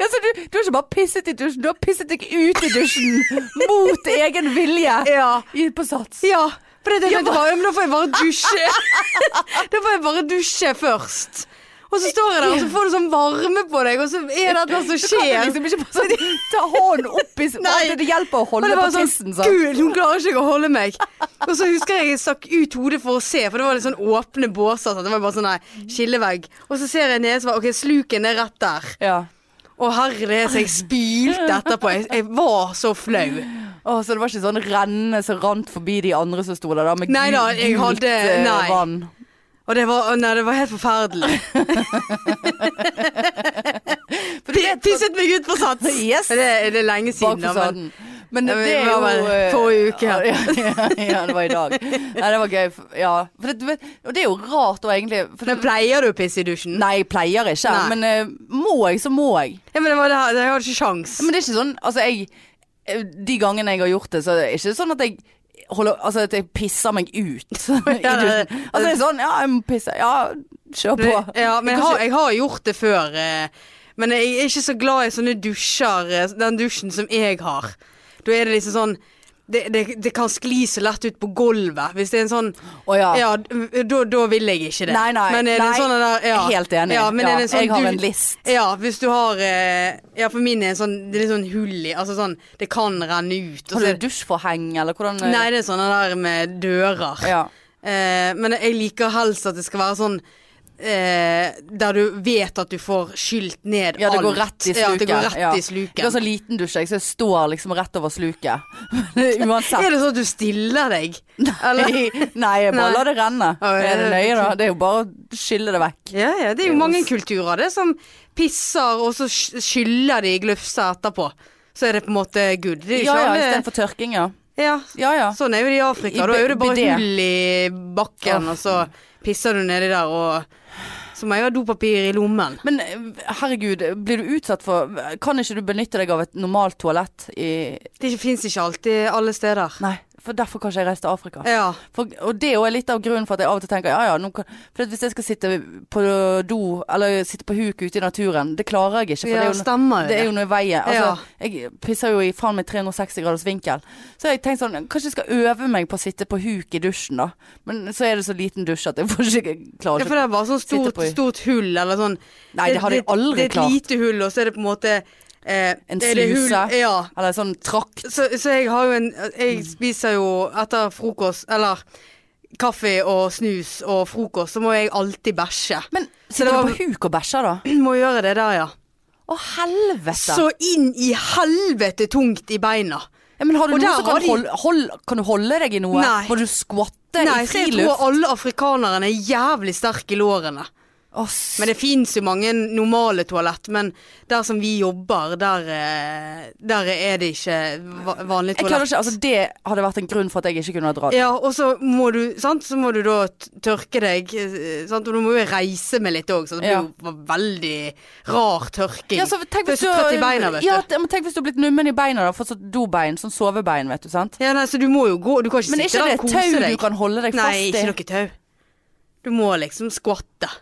[SPEAKER 1] Ja, så du, du har ikke bare pisset i dusjen, du har pisset deg ut i
[SPEAKER 2] *laughs*
[SPEAKER 1] dusjen! Mot egen vilje!
[SPEAKER 2] Ja.
[SPEAKER 1] I- På sats.
[SPEAKER 2] ja. For det, det, det, var- men da får jeg bare
[SPEAKER 1] *laughs*
[SPEAKER 2] dusje. da får jeg bare dusje først. Og så står jeg der, og så får du sånn varme på deg, og så er det noe som
[SPEAKER 1] Du kan jo
[SPEAKER 2] skjer.
[SPEAKER 1] liksom ikke bare sånn, ta hånden opp i
[SPEAKER 2] Nei.
[SPEAKER 1] Det det hjelper å
[SPEAKER 2] Men
[SPEAKER 1] holde
[SPEAKER 2] det
[SPEAKER 1] på
[SPEAKER 2] var sånn,
[SPEAKER 1] tissen, sant?
[SPEAKER 2] Gud, hun klarer ikke å holde meg. Og så husker jeg jeg stakk ut hodet for å se, for det var litt sånn åpne båser. Sant? Det var bare sånn, nei, skillevegg. Og så ser jeg ned, så var, ok, sluken er rett der.
[SPEAKER 1] Ja.
[SPEAKER 2] Å herre, så jeg spylte etterpå. Jeg, jeg var så flau.
[SPEAKER 1] Å, Å, så det var ikke sånn rennende som rant forbi de andre som sto der, da, med
[SPEAKER 2] Nei da,
[SPEAKER 1] gult,
[SPEAKER 2] jeg hadde-
[SPEAKER 1] eh,
[SPEAKER 2] nei.
[SPEAKER 1] vann?
[SPEAKER 2] Og det var, nei, det var helt forferdelig.
[SPEAKER 1] *laughs* For du
[SPEAKER 2] Ti-
[SPEAKER 1] vet,
[SPEAKER 2] Tisset meg ut på sats!
[SPEAKER 1] Yes.
[SPEAKER 2] Det, det er lenge siden, da.
[SPEAKER 1] Bakfasaden.
[SPEAKER 2] Men
[SPEAKER 1] Men det,
[SPEAKER 2] Ja, men
[SPEAKER 1] det er
[SPEAKER 2] det
[SPEAKER 1] jo
[SPEAKER 2] var vel
[SPEAKER 1] eh,
[SPEAKER 2] forrige uke, ja.
[SPEAKER 1] *laughs* Ja, ja, ja, det var i
[SPEAKER 2] *laughs*
[SPEAKER 1] dag. Nei, det var gøy. f- Ja. For det, du vet- og det er jo rart og egentlig for
[SPEAKER 2] men
[SPEAKER 1] det,
[SPEAKER 2] pleier du å pisse i dusjen?
[SPEAKER 1] Nei, jeg pleier ikke.
[SPEAKER 2] Nei.
[SPEAKER 1] Men eh, må jeg, så må jeg.
[SPEAKER 2] Ja, men det var det her, jeg hadde ikke sjans.
[SPEAKER 1] Men det er ikke sånn Altså, jeg eh, De gangene jeg har gjort det, så er det ikke sånn at jeg holder Altså at jeg pisser meg ut.
[SPEAKER 2] *laughs*
[SPEAKER 1] i dusjen.
[SPEAKER 2] Ja, det-
[SPEAKER 1] altså det er sånn Ja, jeg må pisse. Ja, kjør på.
[SPEAKER 2] Det- Ja, men jeg har, jeg har gjort det før. eh, Men jeg er ikke så glad i sånne dusjer, eh, den dusjen som jeg har. Da er det liksom sånn det, det, det kan skli så lett ut på gulvet. Hvis det er en sånn
[SPEAKER 1] Å ja.
[SPEAKER 2] Ja, d- da, da vil jeg ikke det.
[SPEAKER 1] Nei, nei,
[SPEAKER 2] men er det
[SPEAKER 1] nei.
[SPEAKER 2] en sånn der, ja.
[SPEAKER 1] Helt enig.
[SPEAKER 2] Ja, men
[SPEAKER 1] Ja,
[SPEAKER 2] er det en sånn
[SPEAKER 1] jeg har
[SPEAKER 2] du-
[SPEAKER 1] en list.
[SPEAKER 2] Ja, hvis du har eh, Ja, for min er en sånn, det er litt sånn hull i Altså sånn, det kan renne ut. og så
[SPEAKER 1] Har
[SPEAKER 2] er
[SPEAKER 1] du dusjforheng, eller hvordan eh?
[SPEAKER 2] det- Nei, det er sånne der med dører.
[SPEAKER 1] Ja.
[SPEAKER 2] Eh, men jeg liker helst at det skal være sånn eh, der du vet at du får skylt ned
[SPEAKER 1] Ja, det
[SPEAKER 2] alt.
[SPEAKER 1] går rett i sluket.
[SPEAKER 2] Ja, det går rett
[SPEAKER 1] Ja. sånn
[SPEAKER 2] i sluket.
[SPEAKER 1] Jeg har så liten dusj, jeg, så jeg står liksom rett over sluket. *laughs*
[SPEAKER 2] *laughs* Er
[SPEAKER 1] Uansett.
[SPEAKER 2] det sånn at du stiller deg? Eller?
[SPEAKER 1] *laughs* Nei, jeg bare
[SPEAKER 2] Nei.
[SPEAKER 1] lar det renne.
[SPEAKER 2] Ja, ja,
[SPEAKER 1] Er det
[SPEAKER 2] ja,
[SPEAKER 1] nøye, da?
[SPEAKER 2] ok.
[SPEAKER 1] Det er jo bare å skylle det vekk.
[SPEAKER 2] Ja, ja, det er jo mange kulturer det som pisser, og så sk- skyller de i glufsa etterpå. Så er det på en måte good. Det er jo
[SPEAKER 1] Ja
[SPEAKER 2] ikke
[SPEAKER 1] ja,
[SPEAKER 2] alle-
[SPEAKER 1] istedenfor tørking, ja.
[SPEAKER 2] ja.
[SPEAKER 1] Ja ja.
[SPEAKER 2] Sånn er jo det i Afrika.
[SPEAKER 1] I
[SPEAKER 2] Da er jo det bare
[SPEAKER 1] bidé.
[SPEAKER 2] hull i bakken,
[SPEAKER 1] Åh.
[SPEAKER 2] og så pisser du nedi der, og så må jeg ha dopapir i lommen.
[SPEAKER 1] Men eh, herregud, blir du utsatt for Kan ikke du benytte deg av et normalt toalett i
[SPEAKER 2] Det fins ikke alltid alle steder.
[SPEAKER 1] Nei, for derfor kan ikke jeg reise til Afrika.
[SPEAKER 2] Ja.
[SPEAKER 1] For, og det er jo litt av grunnen for at jeg av og til tenker ja ja, nå kan, for at hvis jeg skal sitte på do, eller sitte på huk ute i naturen, det klarer jeg ikke. For det er
[SPEAKER 2] Ja,
[SPEAKER 1] jo
[SPEAKER 2] stemmer jo
[SPEAKER 1] Det er
[SPEAKER 2] det.
[SPEAKER 1] jo noe i veien. Altså, Jeg pisser jo i faen meg 360 graders vinkel. Så jeg tenkte sånn, kanskje jeg skal øve meg på å sitte på huk i dusjen, da. Men så er det så liten dusj at jeg får ikke
[SPEAKER 2] Ja,
[SPEAKER 1] klarer ikke
[SPEAKER 2] for det er bare sånn
[SPEAKER 1] Sitter
[SPEAKER 2] stort,
[SPEAKER 1] på i-
[SPEAKER 2] stort hull, eller sånn.
[SPEAKER 1] Nei, det hadde jeg aldri
[SPEAKER 2] Det er
[SPEAKER 1] klart.
[SPEAKER 2] et lite hull, og så er det på en måte eh,
[SPEAKER 1] En
[SPEAKER 2] det er det hull-
[SPEAKER 1] sluse.
[SPEAKER 2] Ja.
[SPEAKER 1] Eller sånn trakt.
[SPEAKER 2] Så, så jeg har jo en
[SPEAKER 1] Mm.
[SPEAKER 2] Jeg spiser jo etter frokost, eller kaffe og snus og frokost, så må jeg alltid bæsje.
[SPEAKER 1] Men
[SPEAKER 2] Så
[SPEAKER 1] sitter du
[SPEAKER 2] det
[SPEAKER 1] på huk og bæsjer, da?
[SPEAKER 2] *clears throat* Må gjøre det der, ja.
[SPEAKER 1] Å, helvete!
[SPEAKER 2] Så inn i helvete tungt i beina.
[SPEAKER 1] ja, men har du
[SPEAKER 2] Og
[SPEAKER 1] noe
[SPEAKER 2] der
[SPEAKER 1] som kan,
[SPEAKER 2] har de-
[SPEAKER 1] holde, hold, kan du holde deg i noe?
[SPEAKER 2] Nei.
[SPEAKER 1] Må du skvatte
[SPEAKER 2] Nei,
[SPEAKER 1] i
[SPEAKER 2] så jeg tror
[SPEAKER 1] friluft?
[SPEAKER 2] alle afrikanerne er jævlig sterke i lårene.
[SPEAKER 1] Å, s-
[SPEAKER 2] Men det fins jo mange normale toalett, men der som vi jobber, der, eh, der er det ikke va- vanlig
[SPEAKER 1] jeg klarer
[SPEAKER 2] toalett.
[SPEAKER 1] ikke, altså Det hadde vært en grunn for at jeg ikke kunne ha dratt.
[SPEAKER 2] Ja, og så må du, sant? Så må du da t- tørke deg, eh, sant? og du må jo reise med litt òg, så det blir
[SPEAKER 1] Ja.
[SPEAKER 2] jo v- veldig rar tørking.
[SPEAKER 1] Ja, så tenk hvis du
[SPEAKER 2] Det er så trøtt i beina, vet
[SPEAKER 1] ja,
[SPEAKER 2] du.
[SPEAKER 1] men tenk hvis du har blitt nummen i beina, da. Fått sånn dobein, sånn sovebein, vet du. sant?
[SPEAKER 2] Ja, nei, så du må jo gå, du kan ikke
[SPEAKER 1] Men er ikke
[SPEAKER 2] sitte der
[SPEAKER 1] det
[SPEAKER 2] og
[SPEAKER 1] et
[SPEAKER 2] kose
[SPEAKER 1] tau
[SPEAKER 2] deg.
[SPEAKER 1] du kan holde deg
[SPEAKER 2] Nei,
[SPEAKER 1] fast i?
[SPEAKER 2] ikke noe tau. Du må liksom skvatte.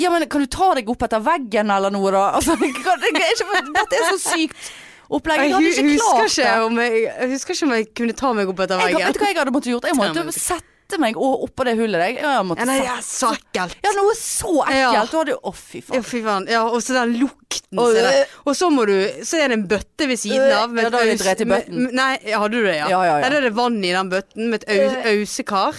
[SPEAKER 1] Ja, men kan du ta deg opp etter veggen eller noe, da? *laughs* Altså, kan, det er ikke, dette er så sykt opplegg. Jeg
[SPEAKER 2] Jeg,
[SPEAKER 1] hadde
[SPEAKER 2] hu-
[SPEAKER 1] ikke
[SPEAKER 2] husker
[SPEAKER 1] klart det.
[SPEAKER 2] ikke om jeg, jeg husker ikke om jeg kunne ta meg opp etter
[SPEAKER 1] Jeg,
[SPEAKER 2] veggen.
[SPEAKER 1] vet du hva jeg hadde måttet gjort? Jeg måtte
[SPEAKER 2] Ja, men-
[SPEAKER 1] sette meg o- oppå det hullet. Jeg, jeg
[SPEAKER 2] Ja,
[SPEAKER 1] måtte
[SPEAKER 2] nei, det
[SPEAKER 1] sette.
[SPEAKER 2] er så ekkelt.
[SPEAKER 1] ja, noe så
[SPEAKER 2] Ja.
[SPEAKER 1] ekkelt. Du hadde jo Å, fy
[SPEAKER 2] Ja,
[SPEAKER 1] faen.
[SPEAKER 2] fy faen. Ja, og så den lukten.
[SPEAKER 1] Og-
[SPEAKER 2] Og, og så må du Så er det en bøtte ved siden av.
[SPEAKER 1] Ja, da har du
[SPEAKER 2] aus-
[SPEAKER 1] drept i
[SPEAKER 2] med-
[SPEAKER 1] bøtten.
[SPEAKER 2] Nei, ja, hadde du det, ja?
[SPEAKER 1] Ja, ja, ja.
[SPEAKER 2] Nei, Da er det vann i den bøtten med et au- ausekar.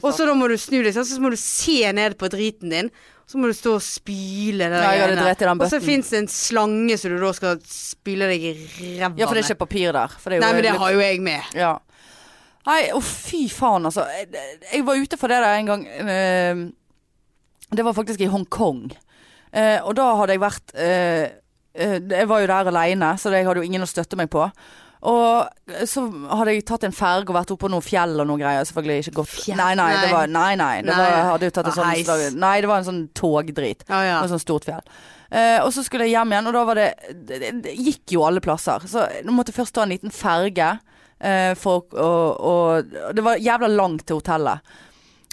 [SPEAKER 2] Og så da må du snu deg, sånn, så må du se ned på driten din. Så må du stå og spyle det der
[SPEAKER 1] Ja, jeg hadde
[SPEAKER 2] greiene.
[SPEAKER 1] drept i den
[SPEAKER 2] Og så
[SPEAKER 1] bøtten.
[SPEAKER 2] fins det en slange som du da skal spyle deg i ræva med.
[SPEAKER 1] Ja, for det er ikke papir der. For det er jo
[SPEAKER 2] Nei, men det har jo jeg med.
[SPEAKER 1] Ja. Nei, å fy faen, altså. Jeg, jeg var ute for det der en gang. eh, Det var faktisk i Hongkong. Eh, og da hadde jeg vært eh, eh, Jeg var jo der aleine, så jeg hadde jo ingen å støtte meg på. Og så hadde jeg tatt en ferge og vært oppå noen fjell og noen greier. Selvfølgelig ikke gått
[SPEAKER 2] Fjell?
[SPEAKER 1] Nei, nei. Det var, nei, nei, det
[SPEAKER 2] Nei.
[SPEAKER 1] var, jeg hadde jo tatt en
[SPEAKER 2] Var
[SPEAKER 1] sånn
[SPEAKER 2] heis.
[SPEAKER 1] slag- Nei, det var en sånn togdrit.
[SPEAKER 2] Ja, ja.
[SPEAKER 1] Noe sånt sånn stort fjell. Eh, og så skulle jeg hjem igjen, og da var det, det, det- det gikk jo alle plasser. Så jeg måtte først ta en liten ferge. eh, for, og, og, og det var jævla langt til hotellet.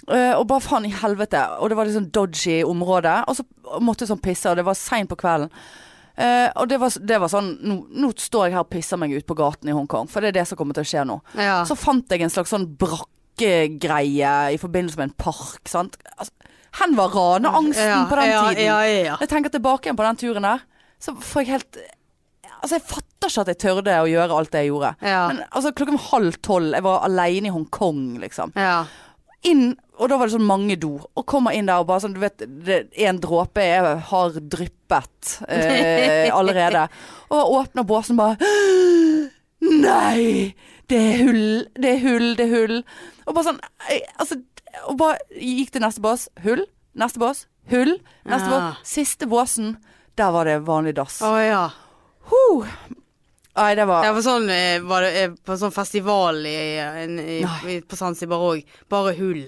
[SPEAKER 1] Eh, og bare faen i helvete. Og det var litt sånn dodgy område. Og så måtte jeg sånn pisse, og det var seint på kvelden. Eh, og det var, det var sånn nå, nå står jeg her og pisser meg ut på gaten i Hongkong, for det er det som kommer til å skje nå.
[SPEAKER 2] Ja.
[SPEAKER 1] Så fant jeg en slags sånn brakkegreie i forbindelse med en park, sant. Altså, hen var raneangsten
[SPEAKER 2] ja,
[SPEAKER 1] på den
[SPEAKER 2] ja,
[SPEAKER 1] tiden.
[SPEAKER 2] Ja, ja,
[SPEAKER 1] Når jeg tenker tilbake igjen på den turen der, så får jeg helt Altså, jeg fatter ikke at jeg tørde å gjøre alt det jeg gjorde.
[SPEAKER 2] ja.
[SPEAKER 1] Men altså, klokken var halv tolv, jeg var aleine i Hongkong, liksom
[SPEAKER 2] ja.
[SPEAKER 1] inn, og da var det sånn mange do, og kommer inn der og bare sånn, du vet, det- en dråpe er, har
[SPEAKER 2] *laughs*
[SPEAKER 1] dryppet eh, allerede. Og åpner båsen bare, Nei! Det er hull, det er hull, det er hull. Og bare sånn eh, Altså, og bare gikk til neste bås. Hull. Neste bås. Hull. Neste
[SPEAKER 2] Ja.
[SPEAKER 1] bås. Siste båsen. Der var det vanlig dass.
[SPEAKER 2] Å ja.
[SPEAKER 1] Huh. Nei, det var
[SPEAKER 2] Jeg var, sånn, eh, var det, eh, på sånn festival i, eh, en, i,
[SPEAKER 1] Nei.
[SPEAKER 2] i, på Zanzibar òg. Bare hull.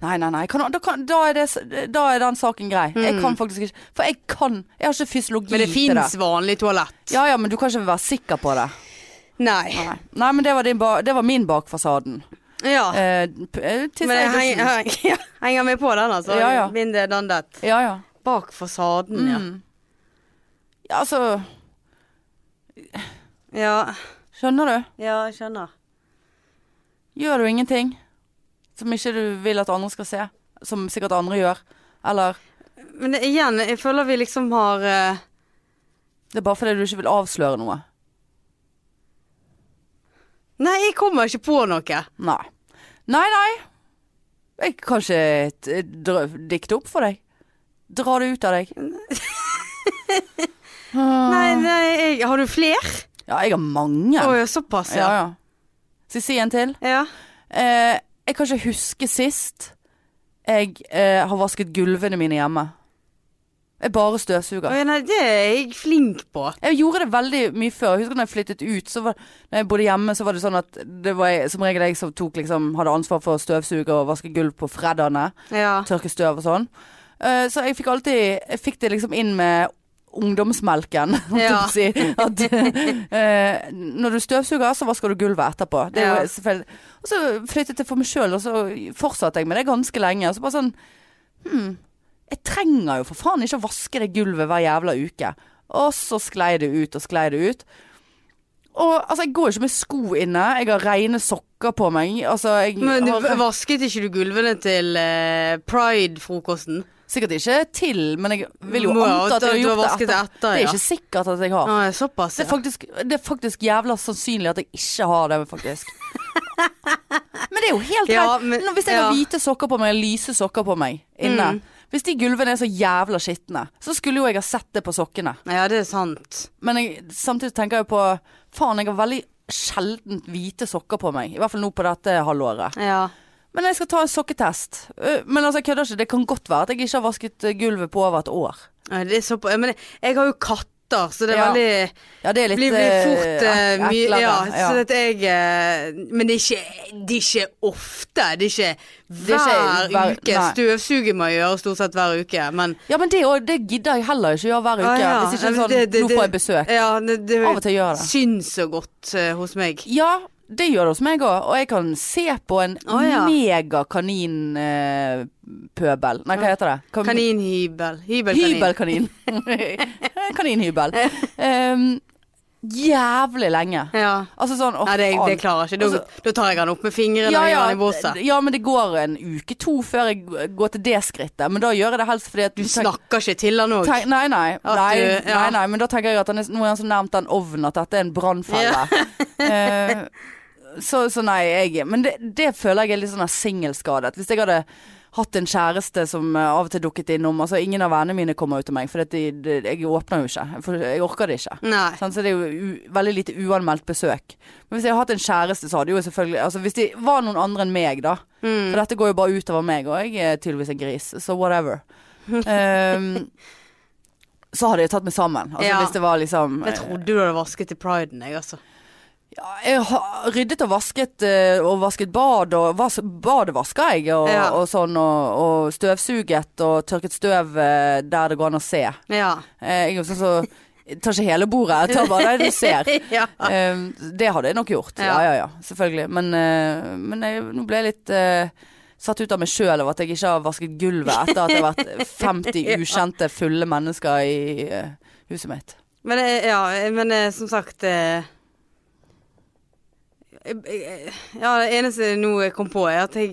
[SPEAKER 1] Nei, nei, nei. Kan, da, kan, da, er det, s- da er den saken grei. Jeg kan faktisk ikke For jeg kan Jeg har ikke fysiologi
[SPEAKER 2] Mm. Men det
[SPEAKER 1] til det.
[SPEAKER 2] fins vanlig toalett.
[SPEAKER 1] Ja ja, men du kan ikke være sikker på det.
[SPEAKER 2] Nei.
[SPEAKER 1] Nei, nei men det var, din ba, det var min bakfasaden.
[SPEAKER 2] Ja.
[SPEAKER 1] Eh, p- eh, Tiss
[SPEAKER 2] Men
[SPEAKER 1] i dusjen.
[SPEAKER 2] jeg henger, *laughs* ja, henger med på den, altså.
[SPEAKER 1] Ja, ja.
[SPEAKER 2] Mindre than that.
[SPEAKER 1] Ja ja.
[SPEAKER 2] Bak fasaden,
[SPEAKER 1] ja. Altså
[SPEAKER 2] ja. Ja,
[SPEAKER 1] Skjønner du?
[SPEAKER 2] ja jeg skjønner.
[SPEAKER 1] Gjør du ingenting som ikke du vil at andre skal se? Som sikkert andre gjør. Eller
[SPEAKER 2] Men det- igjen, jeg føler vi liksom har eh,
[SPEAKER 1] det er bare fordi du ikke vil avsløre noe.
[SPEAKER 2] Nei, jeg kommer ikke på noe.
[SPEAKER 1] Nei. Nei, nei. Jeg kan ikke t- drø- dikte opp for deg. Dra det ut av
[SPEAKER 2] *laughs*
[SPEAKER 1] deg. Ah.
[SPEAKER 2] Nei, nei, jeg, har du fler?
[SPEAKER 1] Ja, jeg har
[SPEAKER 2] Å
[SPEAKER 1] mange.
[SPEAKER 2] ja, såpass,
[SPEAKER 1] Ja,
[SPEAKER 2] ja.
[SPEAKER 1] ja. Skal jeg si en til?
[SPEAKER 2] ja.
[SPEAKER 1] Eh, jeg kan ikke huske sist jeg eh, har vasket gulvene mine hjemme. Jeg bare
[SPEAKER 2] Å
[SPEAKER 1] støvsuger.
[SPEAKER 2] ja. Nei, det er jeg flink på.
[SPEAKER 1] Jeg gjorde det veldig mye før. Jeg husker når jeg flyttet ut, så var, når jeg bodde hjemme, så var det sånn at det var jeg, som regel jeg som tok, liksom, hadde ansvar for å støvsuge og vaske gulv på fredagene.
[SPEAKER 2] Ja.
[SPEAKER 1] Tørke støv og sånn. Eh, så jeg fikk alltid Jeg fikk det liksom inn med ungdomsmelken, *laughs* holdt jeg
[SPEAKER 2] Ja.
[SPEAKER 1] på å si. At, *laughs* eh, når du støvsuger, så vasker du gulvet etterpå. Det er
[SPEAKER 2] Ja.
[SPEAKER 1] jo selvfølgelig Og så flyttet jeg for meg sjøl, og så fortsatte jeg med det ganske lenge. Og så bare sånn Hm. Jeg trenger jo for faen ikke å vaske det gulvet hver jævla uke. Og så sklei det ut og sklei det ut. Og altså, jeg går jo ikke med sko inne. Jeg har reine sokker på meg. Altså, jeg
[SPEAKER 2] Men du,
[SPEAKER 1] har
[SPEAKER 2] vasket ikke du gulvene til eh, pride-frokosten?
[SPEAKER 1] Sikkert ikke til, men jeg vil jo
[SPEAKER 2] Må jo
[SPEAKER 1] anta at jeg har
[SPEAKER 2] anta at du har
[SPEAKER 1] gjort det etter.
[SPEAKER 2] vasket det etter,
[SPEAKER 1] Det er
[SPEAKER 2] ja.
[SPEAKER 1] ikke sikkert at jeg har.
[SPEAKER 2] Å, ja, såpass,
[SPEAKER 1] Det er
[SPEAKER 2] ja.
[SPEAKER 1] faktisk, det er faktisk jævla sannsynlig at jeg ikke har det,
[SPEAKER 2] *laughs*
[SPEAKER 1] faktisk. Men det er jo helt
[SPEAKER 2] Ja,
[SPEAKER 1] greit.
[SPEAKER 2] men-
[SPEAKER 1] Nå, hvis jeg har
[SPEAKER 2] ja. Mm.
[SPEAKER 1] hvite sokker på meg, lyse sokker på meg inne Hvis de gulvene er så jævla skitne, så skulle jo jeg ha sett det på sokkene.
[SPEAKER 2] Ja, det er sant.
[SPEAKER 1] Men jeg, samtidig tenker jeg på Faen, jeg har veldig sjeldent hvite sokker på meg. I hvert fall nå på dette halvåret.
[SPEAKER 2] Ja.
[SPEAKER 1] Men jeg skal ta en sokketest. Øh, Men altså, jeg kødder ikke. Det kan godt være at jeg ikke har vasket øh, gulvet på over et år.
[SPEAKER 2] Nei, det er så på, ja, men jeg, jeg har jo katter, så det er
[SPEAKER 1] Ja.
[SPEAKER 2] veldig
[SPEAKER 1] Ja, det er litt
[SPEAKER 2] Blir, blir
[SPEAKER 1] eh,
[SPEAKER 2] fort eh,
[SPEAKER 1] ek-
[SPEAKER 2] mye
[SPEAKER 1] eklere.
[SPEAKER 2] ja,
[SPEAKER 1] ja.
[SPEAKER 2] Så at jeg eh, Men det er ikke, det er ikke ofte. Det er ikke
[SPEAKER 1] er
[SPEAKER 2] hver
[SPEAKER 1] ikke hver-
[SPEAKER 2] uke.
[SPEAKER 1] nei.
[SPEAKER 2] Støvsuger må jeg gjøre stort sett hver uke, men
[SPEAKER 1] ja, men det, og, det gidder jeg heller ikke gjøre hver uke.
[SPEAKER 2] Ah, ja.
[SPEAKER 1] Hvis ikke
[SPEAKER 2] Ja, men
[SPEAKER 1] sånn,
[SPEAKER 2] det- det-
[SPEAKER 1] nå får jeg besøk.
[SPEAKER 2] Ja, det, det
[SPEAKER 1] Av og til gjør jeg det.
[SPEAKER 2] syns så godt eh, hos meg.
[SPEAKER 1] Ja, det gjør det hos meg òg. Og jeg kan se på en
[SPEAKER 2] Å, Ah, ja.
[SPEAKER 1] megakaninpøbel. pøbel Nei, hva
[SPEAKER 2] Ah.
[SPEAKER 1] heter det? Kan-
[SPEAKER 2] Kaninhybel. Hybelkanin. *laughs*
[SPEAKER 1] Hybelkanin. Kaninhybel. Em, jævlig lenge.
[SPEAKER 2] Ja.
[SPEAKER 1] Altså sånn, å
[SPEAKER 2] Nei, det, det
[SPEAKER 1] faen.
[SPEAKER 2] klarer jeg ikke. Da, da tar jeg han opp med fingrene
[SPEAKER 1] altså- Ja, ja,
[SPEAKER 2] og gjør han i båset.
[SPEAKER 1] ja, men det går en uke, to, før jeg g- går til det skrittet. Men da gjør jeg det helst fordi at du
[SPEAKER 2] Du
[SPEAKER 1] tenker-
[SPEAKER 2] snakker ikke til han òg.
[SPEAKER 1] Tenk, nei, nei,
[SPEAKER 2] At
[SPEAKER 1] nei,
[SPEAKER 2] du- ja.
[SPEAKER 1] nei, nei, men da tenker jeg at han er, nå er han så nærmt den ovnen at dette er en brannfelle. *laughs* Eh, så, så nei, jeg Men det, det føler jeg er litt sånn her singelskadet. Hvis jeg hadde hatt en kjæreste som eh, av og til dukket innom Altså, ingen av vennene mine kommer ut til meg, for de, de, jeg åpner jo ikke. For jeg orker det ikke.
[SPEAKER 2] Nei.
[SPEAKER 1] Sant, så det er jo u veldig lite uanmeldt besøk. Men hvis jeg hadde hatt en kjæreste, så hadde jo jeg selvfølgelig Altså hvis det var noen andre enn meg, da.
[SPEAKER 2] Mm.
[SPEAKER 1] For dette går jo bare utover meg, og jeg er tydeligvis en gris, så whatever. Ehm, så hadde jeg tatt meg sammen. Altså
[SPEAKER 2] Ja.
[SPEAKER 1] hvis det var liksom
[SPEAKER 2] Jeg trodde du hadde vasket til priden, jeg, altså.
[SPEAKER 1] ja, eh, Jeg har ryddet og vasket eh, Og vasket bad og vas Badet vaska jeg og,
[SPEAKER 2] Ja.
[SPEAKER 1] og sånn og, og støvsuget og tørket støv eh, Der det går an å se
[SPEAKER 2] Ja.
[SPEAKER 1] *laughs* Eh, Jeg er jo sånn så Tar ikke hele bordet Jeg tar bare det du ser
[SPEAKER 2] ja.
[SPEAKER 1] *laughs* Ehm, det hadde jeg nok gjort. Ja,
[SPEAKER 2] Ja.
[SPEAKER 1] ja, ja. Selvfølgelig. Men, eh, men jeg, nå ble jeg litt eh, satt ut av meg sjøl av at jeg ikke har vasket gulvet etter at det har
[SPEAKER 2] *laughs*
[SPEAKER 1] vært 50 ukjente, fulle mennesker i eh, huset mitt.
[SPEAKER 2] Men, eh, ja, men eh, som sagt eh, jeg- jeg- Ja, det eneste nå jeg kom på, er at jeg,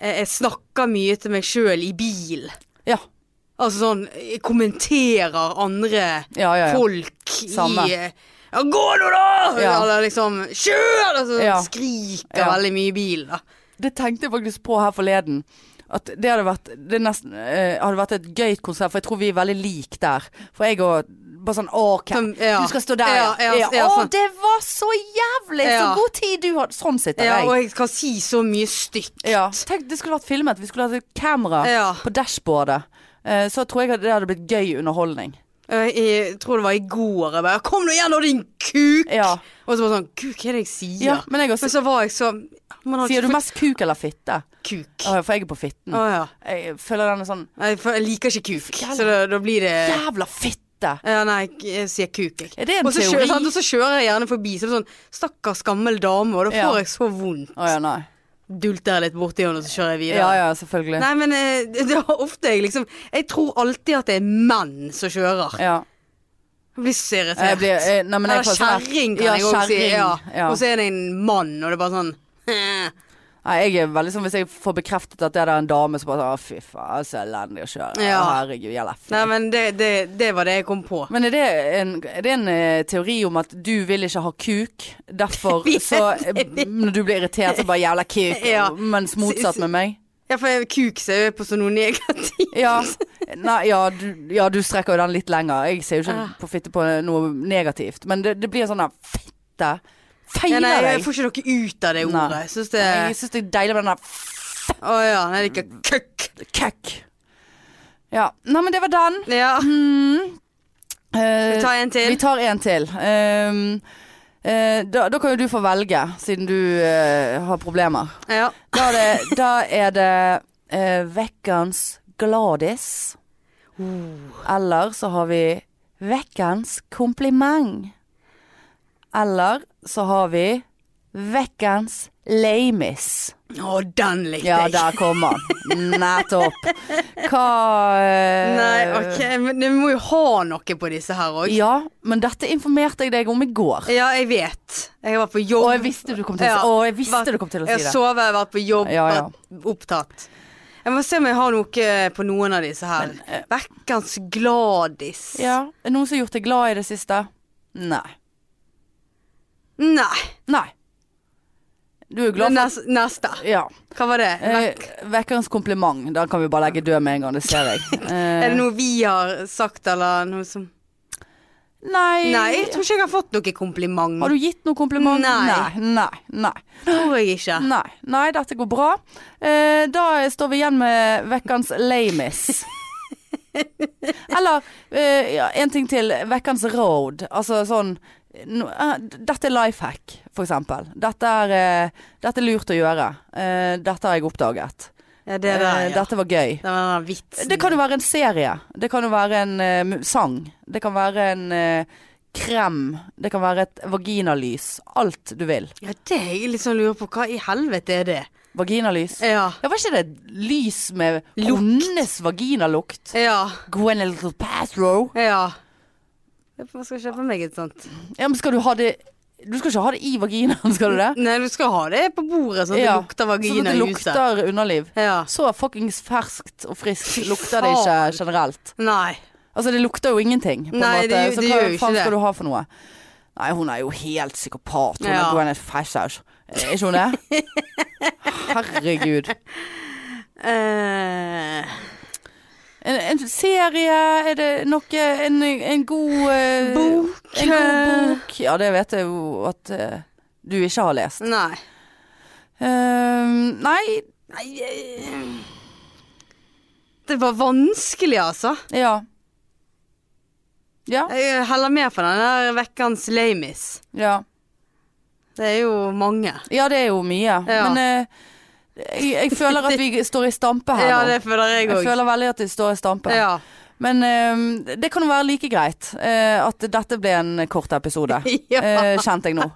[SPEAKER 2] eh, jeg snakker mye til meg sjøl i bil.
[SPEAKER 1] Ja,
[SPEAKER 2] Altså sånn Jeg kommenterer andre
[SPEAKER 1] ja, ja. ja.
[SPEAKER 2] folk
[SPEAKER 1] Samme.
[SPEAKER 2] i eh, ja, gå nå, da!
[SPEAKER 1] Ja.
[SPEAKER 2] Eller liksom Kjør! Altså,
[SPEAKER 1] Ja.
[SPEAKER 2] Skriker
[SPEAKER 1] Ja.
[SPEAKER 2] veldig mye i bil, da.
[SPEAKER 1] Det tenkte jeg faktisk på her forleden. At det hadde vært, det nesten, eh, hadde vært et gøy konsert, for jeg tror vi er veldig like der. For jeg og bare sånn OK.
[SPEAKER 2] Som- ja.
[SPEAKER 1] Du skal stå der, ja.
[SPEAKER 2] Ja, ja, ja,
[SPEAKER 1] Å,
[SPEAKER 2] sant.
[SPEAKER 1] det var så jævlig! Så
[SPEAKER 2] Ja.
[SPEAKER 1] god tid du hadde. Sånn sitter
[SPEAKER 2] Ja, og
[SPEAKER 1] jeg.
[SPEAKER 2] jeg kan si så mye stygt.
[SPEAKER 1] Ja. Tenk, det skulle vært filmet. Vi skulle hatt et kamera
[SPEAKER 2] Ja.
[SPEAKER 1] på dashbordet. Eh, Så tror jeg at det hadde blitt gøy underholdning.
[SPEAKER 2] Eh, Jeg tror det var i går. Jeg bare 'Kom nå igjen, da, din kuk!'
[SPEAKER 1] Ja.
[SPEAKER 2] Og så bare sånn Kuk, hva er det jeg sier?
[SPEAKER 1] ja men jeg også
[SPEAKER 2] Men så var jeg så Man har
[SPEAKER 1] Sier du
[SPEAKER 2] ikke fått
[SPEAKER 1] mest kuk eller fitte?
[SPEAKER 2] kuk. Å
[SPEAKER 1] Å, For jeg er på fitten.
[SPEAKER 2] ja.
[SPEAKER 1] Jeg føler den er sånn
[SPEAKER 2] Nei, for jeg liker ikke kuk.
[SPEAKER 1] Jævla-
[SPEAKER 2] Så da, da blir det
[SPEAKER 1] Jævla fitte!
[SPEAKER 2] Ja, nei, jeg sier kuk, jeg.
[SPEAKER 1] Er det en
[SPEAKER 2] Og så
[SPEAKER 1] teori?
[SPEAKER 2] kjører, sant, og så kjører jeg gjerne forbi, så er det sånn Stakkars gammel dame, og da
[SPEAKER 1] Ja.
[SPEAKER 2] får jeg så vondt.
[SPEAKER 1] Å ja, nei.
[SPEAKER 2] Dulter jeg litt borti henne, og så kjører jeg videre.
[SPEAKER 1] Ja ja, selvfølgelig.
[SPEAKER 2] Nei, men eh, det det var ofte jeg liksom Jeg tror alltid at det er menn som kjører.
[SPEAKER 1] Ja.
[SPEAKER 2] Jeg blir så irritert.
[SPEAKER 1] Jeg blir eh, Nei, men jeg
[SPEAKER 2] Eller
[SPEAKER 1] får sånn her-
[SPEAKER 2] kjerring, kan
[SPEAKER 1] Ja,
[SPEAKER 2] jeg òg si.
[SPEAKER 1] kjerring.
[SPEAKER 2] Ja.
[SPEAKER 1] Ja.
[SPEAKER 2] Og så er det en mann, og det er bare sånn
[SPEAKER 1] Nei, jeg er veldig sånn Hvis jeg får bekreftet at det er en dame som bare sånn «Å, Fy faen, så elendig å kjøre.
[SPEAKER 2] Ja.
[SPEAKER 1] Å, Herregud, jævla f...
[SPEAKER 2] Nei, men det, det, det var det jeg kom på.
[SPEAKER 1] Men er det, en, er det en eh, teori om at du vil ikke ha kuk,
[SPEAKER 2] *laughs*
[SPEAKER 1] derfor
[SPEAKER 2] Jeg vet,
[SPEAKER 1] så eh,
[SPEAKER 2] jeg vet.
[SPEAKER 1] Når du blir irritert, så bare jævla kuk,
[SPEAKER 2] Ja.
[SPEAKER 1] mens motsatt med meg?
[SPEAKER 2] Ja, for jeg- kuk ser jo på som noe negativt.
[SPEAKER 1] Ja. Nei, ja, du, ja, du strekker jo den litt lenger. Jeg ser jo
[SPEAKER 2] Ah.
[SPEAKER 1] ikke på fitte på noe negativt, men det, det blir sånn der fitte.
[SPEAKER 2] Ja,
[SPEAKER 1] Feiler
[SPEAKER 2] nei, jeg
[SPEAKER 1] deg!
[SPEAKER 2] får ikke noe ut av det
[SPEAKER 1] Nei.
[SPEAKER 2] ordet. Jeg syns det
[SPEAKER 1] Jeg syns det er deilig med den der
[SPEAKER 2] Å ja, nei, det er ikke køkk.
[SPEAKER 1] kukk. Ja. Nei, men det var den.
[SPEAKER 2] Ja.
[SPEAKER 1] Mm. Eh,
[SPEAKER 2] Vi tar en
[SPEAKER 1] vi
[SPEAKER 2] til.
[SPEAKER 1] tar en til. Ehm, eh, da, da kan jo du få velge, siden du eh, har problemer.
[SPEAKER 2] Ja.
[SPEAKER 1] Da er
[SPEAKER 2] *laughs*
[SPEAKER 1] det, da er det eh, vekkens Gladis.
[SPEAKER 2] Uh.
[SPEAKER 1] Eller så har vi vekkens kompliment. Eller så har vi vekkens lamis.
[SPEAKER 2] Å, den likte
[SPEAKER 1] Ja,
[SPEAKER 2] jeg.
[SPEAKER 1] der kommer han. Nettopp. Hva eh,
[SPEAKER 2] Nei, ok, men du må jo ha noe på disse her òg.
[SPEAKER 1] Ja, men dette informerte jeg deg om i går.
[SPEAKER 2] Ja, jeg vet. Jeg var på jobb.
[SPEAKER 1] Og jeg visste du kom til å,
[SPEAKER 2] Ja.
[SPEAKER 1] si- å, jeg visste
[SPEAKER 2] Vært-
[SPEAKER 1] du kom til å si
[SPEAKER 2] Jeg
[SPEAKER 1] det.
[SPEAKER 2] sover, jeg har vært på jobb,
[SPEAKER 1] Ja, ja.
[SPEAKER 2] vært opptatt. Jeg må se om jeg har noe på noen av disse her. Vekkens Gladis.
[SPEAKER 1] eh, Ja. Er det noen som har gjort deg glad i det siste? Nei.
[SPEAKER 2] Nei.
[SPEAKER 1] Nei. Du er glad for
[SPEAKER 2] Nes, neste.
[SPEAKER 1] Ja.
[SPEAKER 2] Hva var det?
[SPEAKER 1] Eh,
[SPEAKER 2] Vekk.
[SPEAKER 1] Vekkerens kompliment. Den kan vi bare legge død med en gang, det ser *laughs* jeg.
[SPEAKER 2] Er det
[SPEAKER 1] Eh,
[SPEAKER 2] noe vi har sagt, eller noe som
[SPEAKER 1] Eh, nei.
[SPEAKER 2] Nei, jeg tror ikke jeg har fått noe kompliment.
[SPEAKER 1] Har du gitt noe kompliment?
[SPEAKER 2] Nei.
[SPEAKER 1] Nei. Nei. Nei.
[SPEAKER 2] Tror jeg ikke.
[SPEAKER 1] Nei, nei, dette går bra. Eh, da står vi igjen med vekkens
[SPEAKER 2] *laughs*
[SPEAKER 1] lamis. Eller eh, ja, en ting til. Vekkens road. Altså sånn no, eh, Dette er life hack, for eksempel. Dette er, eh, dette er lurt å gjøre. Eh, dette har jeg oppdaget.
[SPEAKER 2] Ja, det der,
[SPEAKER 1] Eh,
[SPEAKER 2] ja.
[SPEAKER 1] Dette var gøy.
[SPEAKER 2] Det var den der vitsen.
[SPEAKER 1] Det kan jo være en serie. Det kan jo være en eh, mu- sang. Det kan være en eh, krem. Det kan være et vaginalys. Alt du vil.
[SPEAKER 2] Ja, det er jeg liksom lurer på. Hva i helvete er det?
[SPEAKER 1] Vaginalys.
[SPEAKER 2] Ja.
[SPEAKER 1] Ja, var ikke det et lys med
[SPEAKER 2] Lukt.
[SPEAKER 1] hundenes vaginalukt?
[SPEAKER 2] Ja.
[SPEAKER 1] Gwyneth Paltrow.
[SPEAKER 2] Ja. Jeg skal kjøpe meg et sånt.
[SPEAKER 1] Ja, men skal du ha det Du skal ikke ha det i vaginaen, skal
[SPEAKER 2] *laughs*
[SPEAKER 1] du det?
[SPEAKER 2] Nei, du skal ha det på bordet, sånn at
[SPEAKER 1] Ja,
[SPEAKER 2] det lukter vagina
[SPEAKER 1] sånn at
[SPEAKER 2] i
[SPEAKER 1] det
[SPEAKER 2] huset.
[SPEAKER 1] lukter underliv.
[SPEAKER 2] Ja.
[SPEAKER 1] Så fuckings ferskt og
[SPEAKER 2] Fy
[SPEAKER 1] friskt lukter det ikke
[SPEAKER 2] faen.
[SPEAKER 1] generelt.
[SPEAKER 2] Nei.
[SPEAKER 1] Altså, det lukter jo ingenting, på en
[SPEAKER 2] Nei,
[SPEAKER 1] måte.
[SPEAKER 2] det gjør-
[SPEAKER 1] så
[SPEAKER 2] det
[SPEAKER 1] hva
[SPEAKER 2] gjør jo ikke
[SPEAKER 1] faen
[SPEAKER 2] det.
[SPEAKER 1] skal du ha for noe? Nei, hun er jo helt psykopat. Hun
[SPEAKER 2] Ja.
[SPEAKER 1] er Gwyneth Paltrow. Er ikke hun
[SPEAKER 2] *laughs*
[SPEAKER 1] det? Herregud.
[SPEAKER 2] Eh,
[SPEAKER 1] En, en serie, er det noe En, en god eh,
[SPEAKER 2] Bok,
[SPEAKER 1] En god
[SPEAKER 2] eh.
[SPEAKER 1] bok. Ja, det vet jeg jo at eh, du ikke har lest.
[SPEAKER 2] nei.
[SPEAKER 1] Ehm, nei,
[SPEAKER 2] nei eh. Det var vanskelig, altså.
[SPEAKER 1] ja. Ja.
[SPEAKER 2] Jeg heller med på den der vekkens lamis.
[SPEAKER 1] Ja,
[SPEAKER 2] Det er jo mange.
[SPEAKER 1] ja det er jo mye.
[SPEAKER 2] Ja.
[SPEAKER 1] Men eh, jeg, jeg føler at vi står i stampe her
[SPEAKER 2] *laughs* Ja,
[SPEAKER 1] nå.
[SPEAKER 2] det føler jeg
[SPEAKER 1] Jeg
[SPEAKER 2] òg.
[SPEAKER 1] føler veldig at vi står i stampe.
[SPEAKER 2] Ja.
[SPEAKER 1] Men eh, det kan jo være like greit eh, at dette ble en kort episode.
[SPEAKER 2] *laughs* Ja.
[SPEAKER 1] Eh, kjente jeg nå.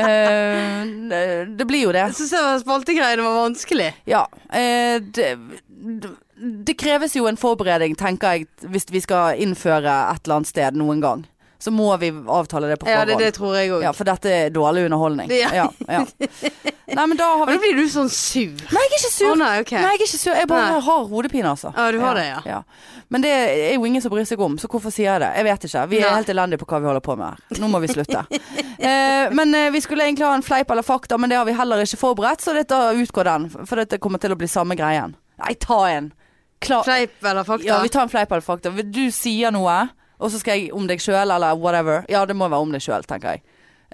[SPEAKER 1] Eh, det blir jo det.
[SPEAKER 2] Jeg syns spaltegreiene var vanskelig.
[SPEAKER 1] Ja. Eh, det, det, det kreves jo en forberedning, tenker jeg, hvis vi skal innføre et eller annet sted noen gang. Så må vi avtale det på
[SPEAKER 2] Ja,
[SPEAKER 1] forhånd.
[SPEAKER 2] det, det tror jeg òg.
[SPEAKER 1] Ja, for dette er dårlig underholdning.
[SPEAKER 2] Ja.
[SPEAKER 1] Ja,
[SPEAKER 2] *laughs*
[SPEAKER 1] ja. Nei, men da har
[SPEAKER 2] Og
[SPEAKER 1] vi
[SPEAKER 2] da blir du sånn sur.
[SPEAKER 1] Nei, jeg er ikke
[SPEAKER 2] Å
[SPEAKER 1] sur.
[SPEAKER 2] nei, ok.
[SPEAKER 1] Nei, jeg er ikke sur. Jeg bare
[SPEAKER 2] Nei.
[SPEAKER 1] har hodepine, altså.
[SPEAKER 2] Ja, du har det, ja.
[SPEAKER 1] Men det er jo ingen som bryr seg om, så hvorfor sier jeg det? Jeg vet ikke. Vi er
[SPEAKER 2] Nei.
[SPEAKER 1] helt elendige på hva vi holder på med her. Nå må vi
[SPEAKER 2] *laughs*
[SPEAKER 1] slutte. eh, men eh, vi skulle egentlig ha en fleip eller fakta, men det har vi heller ikke forberedt, så dette utgår den. For dette kommer til å bli samme greien. Nei, ta en. Klar.
[SPEAKER 2] Fleip eller fakta?
[SPEAKER 1] Ja, vi tar en fleip eller fakta. Du sier noe, Og så skal jeg om deg sjøl, eller whatever. Ja, det må være om deg sjøl, tenker jeg.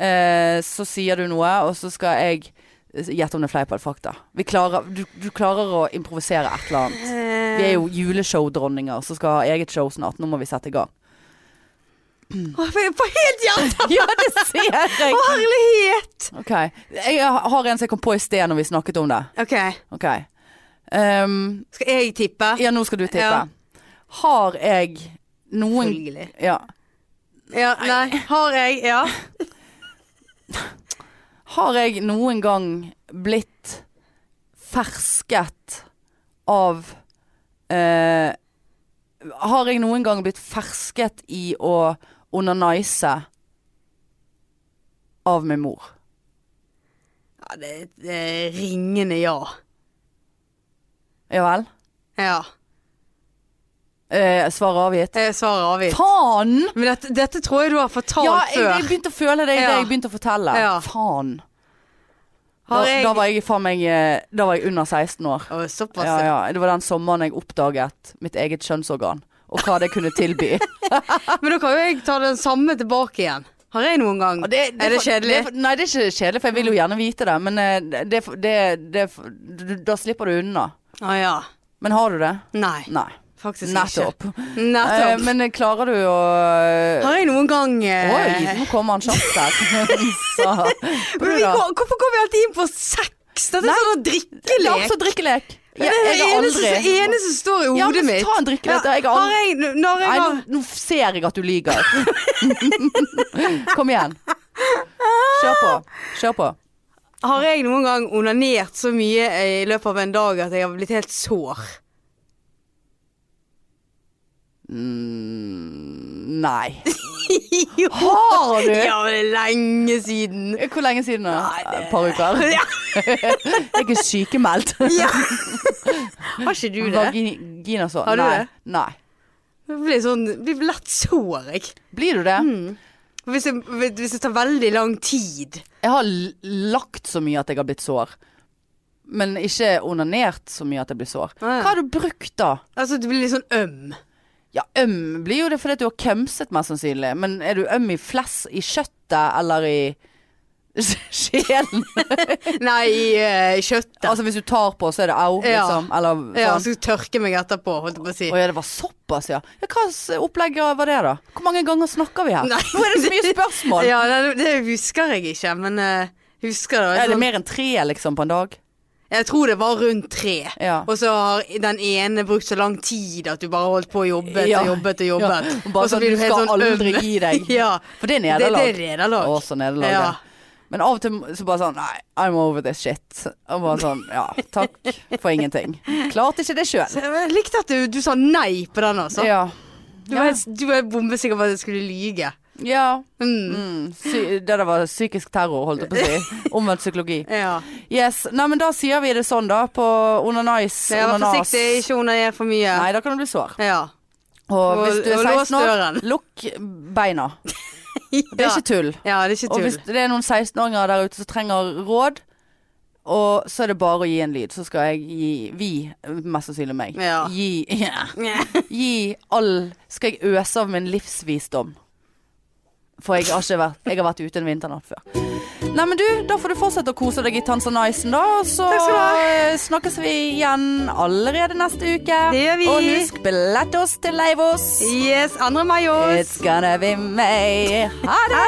[SPEAKER 1] Eh, så sier du noe, og så skal jeg eh, gjette om det er fleip eller fakta. Vi klarer, du, du klarer å improvisere et eller annet. Vi er jo juleshowdronninger som skal ha eget show snart. Nå må vi sette i
[SPEAKER 2] *laughs*
[SPEAKER 1] gang.
[SPEAKER 2] Åh, Eh, jeg får helt
[SPEAKER 1] *laughs*
[SPEAKER 2] hjertet!
[SPEAKER 1] Ja, det ser jeg!
[SPEAKER 2] Å, herlighet!
[SPEAKER 1] Ok. Jeg har en som jeg kom på i sted når vi snakket om det.
[SPEAKER 2] OK,
[SPEAKER 1] Ok. Ehm,
[SPEAKER 2] skal jeg tippe?
[SPEAKER 1] ja, nå skal du tippe.
[SPEAKER 2] Ja.
[SPEAKER 1] Har jeg noen
[SPEAKER 2] Selvfølgelig.
[SPEAKER 1] Ja.
[SPEAKER 2] Ja, nei. Har jeg? Ja.
[SPEAKER 1] Har jeg noen gang blitt fersket av eh, Har jeg noen gang blitt fersket i å onanise av min mor?
[SPEAKER 2] ja det, det er ringende ja.
[SPEAKER 1] Ja vel?
[SPEAKER 2] Ja.
[SPEAKER 1] Eh, svar avgitt.
[SPEAKER 2] Jeg svarer avgitt.
[SPEAKER 1] Faen!
[SPEAKER 2] Men dette, dette tror jeg du har fortalt
[SPEAKER 1] Ja, jeg, jeg
[SPEAKER 2] før.
[SPEAKER 1] begynte å føle det idet
[SPEAKER 2] Ja.
[SPEAKER 1] jeg begynte å fortelle.
[SPEAKER 2] Ja.
[SPEAKER 1] Faen. Da,
[SPEAKER 2] Har jeg
[SPEAKER 1] da var jeg faen meg eh, Da var jeg under 16 år.
[SPEAKER 2] Å, Såpass,
[SPEAKER 1] Ja, ja. Det var den sommeren jeg oppdaget mitt eget kjønnsorgan. Og hva det kunne tilby.
[SPEAKER 2] *laughs* Men da kan jo jeg ta den samme tilbake igjen. Har jeg noen gang
[SPEAKER 1] Og det,
[SPEAKER 2] Er det
[SPEAKER 1] for-
[SPEAKER 2] kjedelig?
[SPEAKER 1] det er for- nei, det er ikke kjedelig, for jeg vil jo gjerne vite det. Men eh, det, er for- det, det, er for- du- da slipper du unna.
[SPEAKER 2] Å ja.
[SPEAKER 1] Men har du det?
[SPEAKER 2] Nei,
[SPEAKER 1] Nei.
[SPEAKER 2] faktisk
[SPEAKER 1] Nettopp.
[SPEAKER 2] ikke. Nettopp. Ehm,
[SPEAKER 1] Eh, men eh, klarer du å
[SPEAKER 2] har jeg noen gang eh,
[SPEAKER 1] Oi, nå kommer han kjapt
[SPEAKER 2] *laughs*
[SPEAKER 1] her. Så-
[SPEAKER 2] men vi, går- Hvorfor går vi alltid inn på sex? Dette er sånn
[SPEAKER 1] Det er
[SPEAKER 2] drikkelek.
[SPEAKER 1] også drikkelek.
[SPEAKER 2] Det er det eneste, eneste som står i
[SPEAKER 1] Ja,
[SPEAKER 2] hodet
[SPEAKER 1] men
[SPEAKER 2] mitt.
[SPEAKER 1] ta en drikkelek, da. Jeg har
[SPEAKER 2] har jeg, når jeg
[SPEAKER 1] Nei,
[SPEAKER 2] har
[SPEAKER 1] nå, nå ser jeg at du lyver. *laughs* Kom igjen. Kjør på. Kjør på.
[SPEAKER 2] Har jeg noen gang onanert så mye eh, i løpet av en dag at jeg har blitt helt sår? *laughs* *laughs*
[SPEAKER 1] Nei.
[SPEAKER 2] Jo.
[SPEAKER 1] Har du?
[SPEAKER 2] Ja, men det er lenge siden.
[SPEAKER 1] Hvor lenge siden? da?
[SPEAKER 2] Nei, det-
[SPEAKER 1] Et par uker?
[SPEAKER 2] *laughs* Ja.
[SPEAKER 1] *laughs* Jeg er sykemeldt.
[SPEAKER 2] ja. Har ikke du det?
[SPEAKER 1] Vagina så.
[SPEAKER 2] Har du
[SPEAKER 1] Nei.
[SPEAKER 2] det?
[SPEAKER 1] Nei.
[SPEAKER 2] Jeg blir, sånn, blir lett sår, jeg.
[SPEAKER 1] Blir du det?
[SPEAKER 2] Mm. Hvis, jeg. hvis det tar veldig lang tid.
[SPEAKER 1] Jeg har l- lagt så mye at jeg har blitt sår. Men ikke onanert så mye at jeg blir sår.
[SPEAKER 2] Ah, ja.
[SPEAKER 1] Hva har du brukt da?
[SPEAKER 2] Altså, du blir litt sånn øm.
[SPEAKER 1] Ja, øm blir jo det fordi at du har kømset mest sannsynlig. Men er du øm i fless i kjøttet eller i *laughs*
[SPEAKER 2] *laughs*
[SPEAKER 1] sjelen?
[SPEAKER 2] Nei, i eh, kjøttet.
[SPEAKER 1] Altså hvis du tar på, så er det au,
[SPEAKER 2] Ja.
[SPEAKER 1] liksom? Eller sånn.
[SPEAKER 2] Ja, så skal du tørke meg etterpå, holdt jeg på å si.
[SPEAKER 1] Å ja, det var såpass, ja. ja hva s- opplegg var det, da? Hvor mange ganger snakker vi her?
[SPEAKER 2] Nei.
[SPEAKER 1] Nå er det så mye spørsmål!
[SPEAKER 2] *laughs* Ja, det, det husker jeg ikke, men eh, husker det. var
[SPEAKER 1] Er det
[SPEAKER 2] sånn-
[SPEAKER 1] mer enn tre, liksom, på en dag?
[SPEAKER 2] Jeg tror det var rundt tre.
[SPEAKER 1] Ja.
[SPEAKER 2] Og så har den ene brukt så lang tid at du bare holdt på og jobbet
[SPEAKER 1] Ja.
[SPEAKER 2] og jobbet og jobbet.
[SPEAKER 1] Ja, og bare sånn, du skal aldri gi deg.
[SPEAKER 2] *laughs* ja.
[SPEAKER 1] For det er
[SPEAKER 2] Det, det
[SPEAKER 1] nederlag.
[SPEAKER 2] er nederlag.
[SPEAKER 1] Å, så nederlag, ja.
[SPEAKER 2] Ja.
[SPEAKER 1] Men av og til så bare sånn Nei, I'm over this shit. Og bare sånn Ja, takk for ingenting. Klarte ikke det sjøl.
[SPEAKER 2] Så Jeg likte at du, du sa nei på den, altså.
[SPEAKER 1] Ja.
[SPEAKER 2] Du var,
[SPEAKER 1] Ja.
[SPEAKER 2] helt, du var bombesikker på at jeg skulle lyge.
[SPEAKER 1] ja.
[SPEAKER 2] Mm.
[SPEAKER 1] Mm, sy det der var psykisk terror, holdt jeg på å si.
[SPEAKER 2] *laughs*
[SPEAKER 1] Omvendt psykologi.
[SPEAKER 2] Ja.
[SPEAKER 1] Yes. Nei, men da sier vi det sånn, da. På onanais.
[SPEAKER 2] Så jeg var
[SPEAKER 1] onanas.
[SPEAKER 2] forsiktig, ikke onaner for mye.
[SPEAKER 1] Nei, da kan du bli sår.
[SPEAKER 2] Ja.
[SPEAKER 1] Og hvis du er
[SPEAKER 2] og lås
[SPEAKER 1] 16 år,
[SPEAKER 2] døren.
[SPEAKER 1] lukk beina. Det er ikke tull.
[SPEAKER 2] Ja, det er ikke
[SPEAKER 1] Og
[SPEAKER 2] tull.
[SPEAKER 1] hvis det er noen 16-åringer der ute som trenger råd, og så er det bare å gi en lyd, så skal jeg gi Vi, mest sannsynlig meg,
[SPEAKER 2] Ja.
[SPEAKER 1] gi, gi all Skal jeg øse av min livsvisdom. For jeg har ikke vært Jeg har vært ute en vinternatt før. Nei, men du, da får du fortsette å kose deg i Tanzanisen, da. Og så
[SPEAKER 2] Takk skal du ha.
[SPEAKER 1] eh, snakkes vi igjen allerede neste uke.
[SPEAKER 2] Det gjør vi.
[SPEAKER 1] Og husk, billett oss til Leivås.
[SPEAKER 2] *laughs* Yes, 2. mai
[SPEAKER 1] It's
[SPEAKER 2] oss.
[SPEAKER 1] gonna be May. Ha det!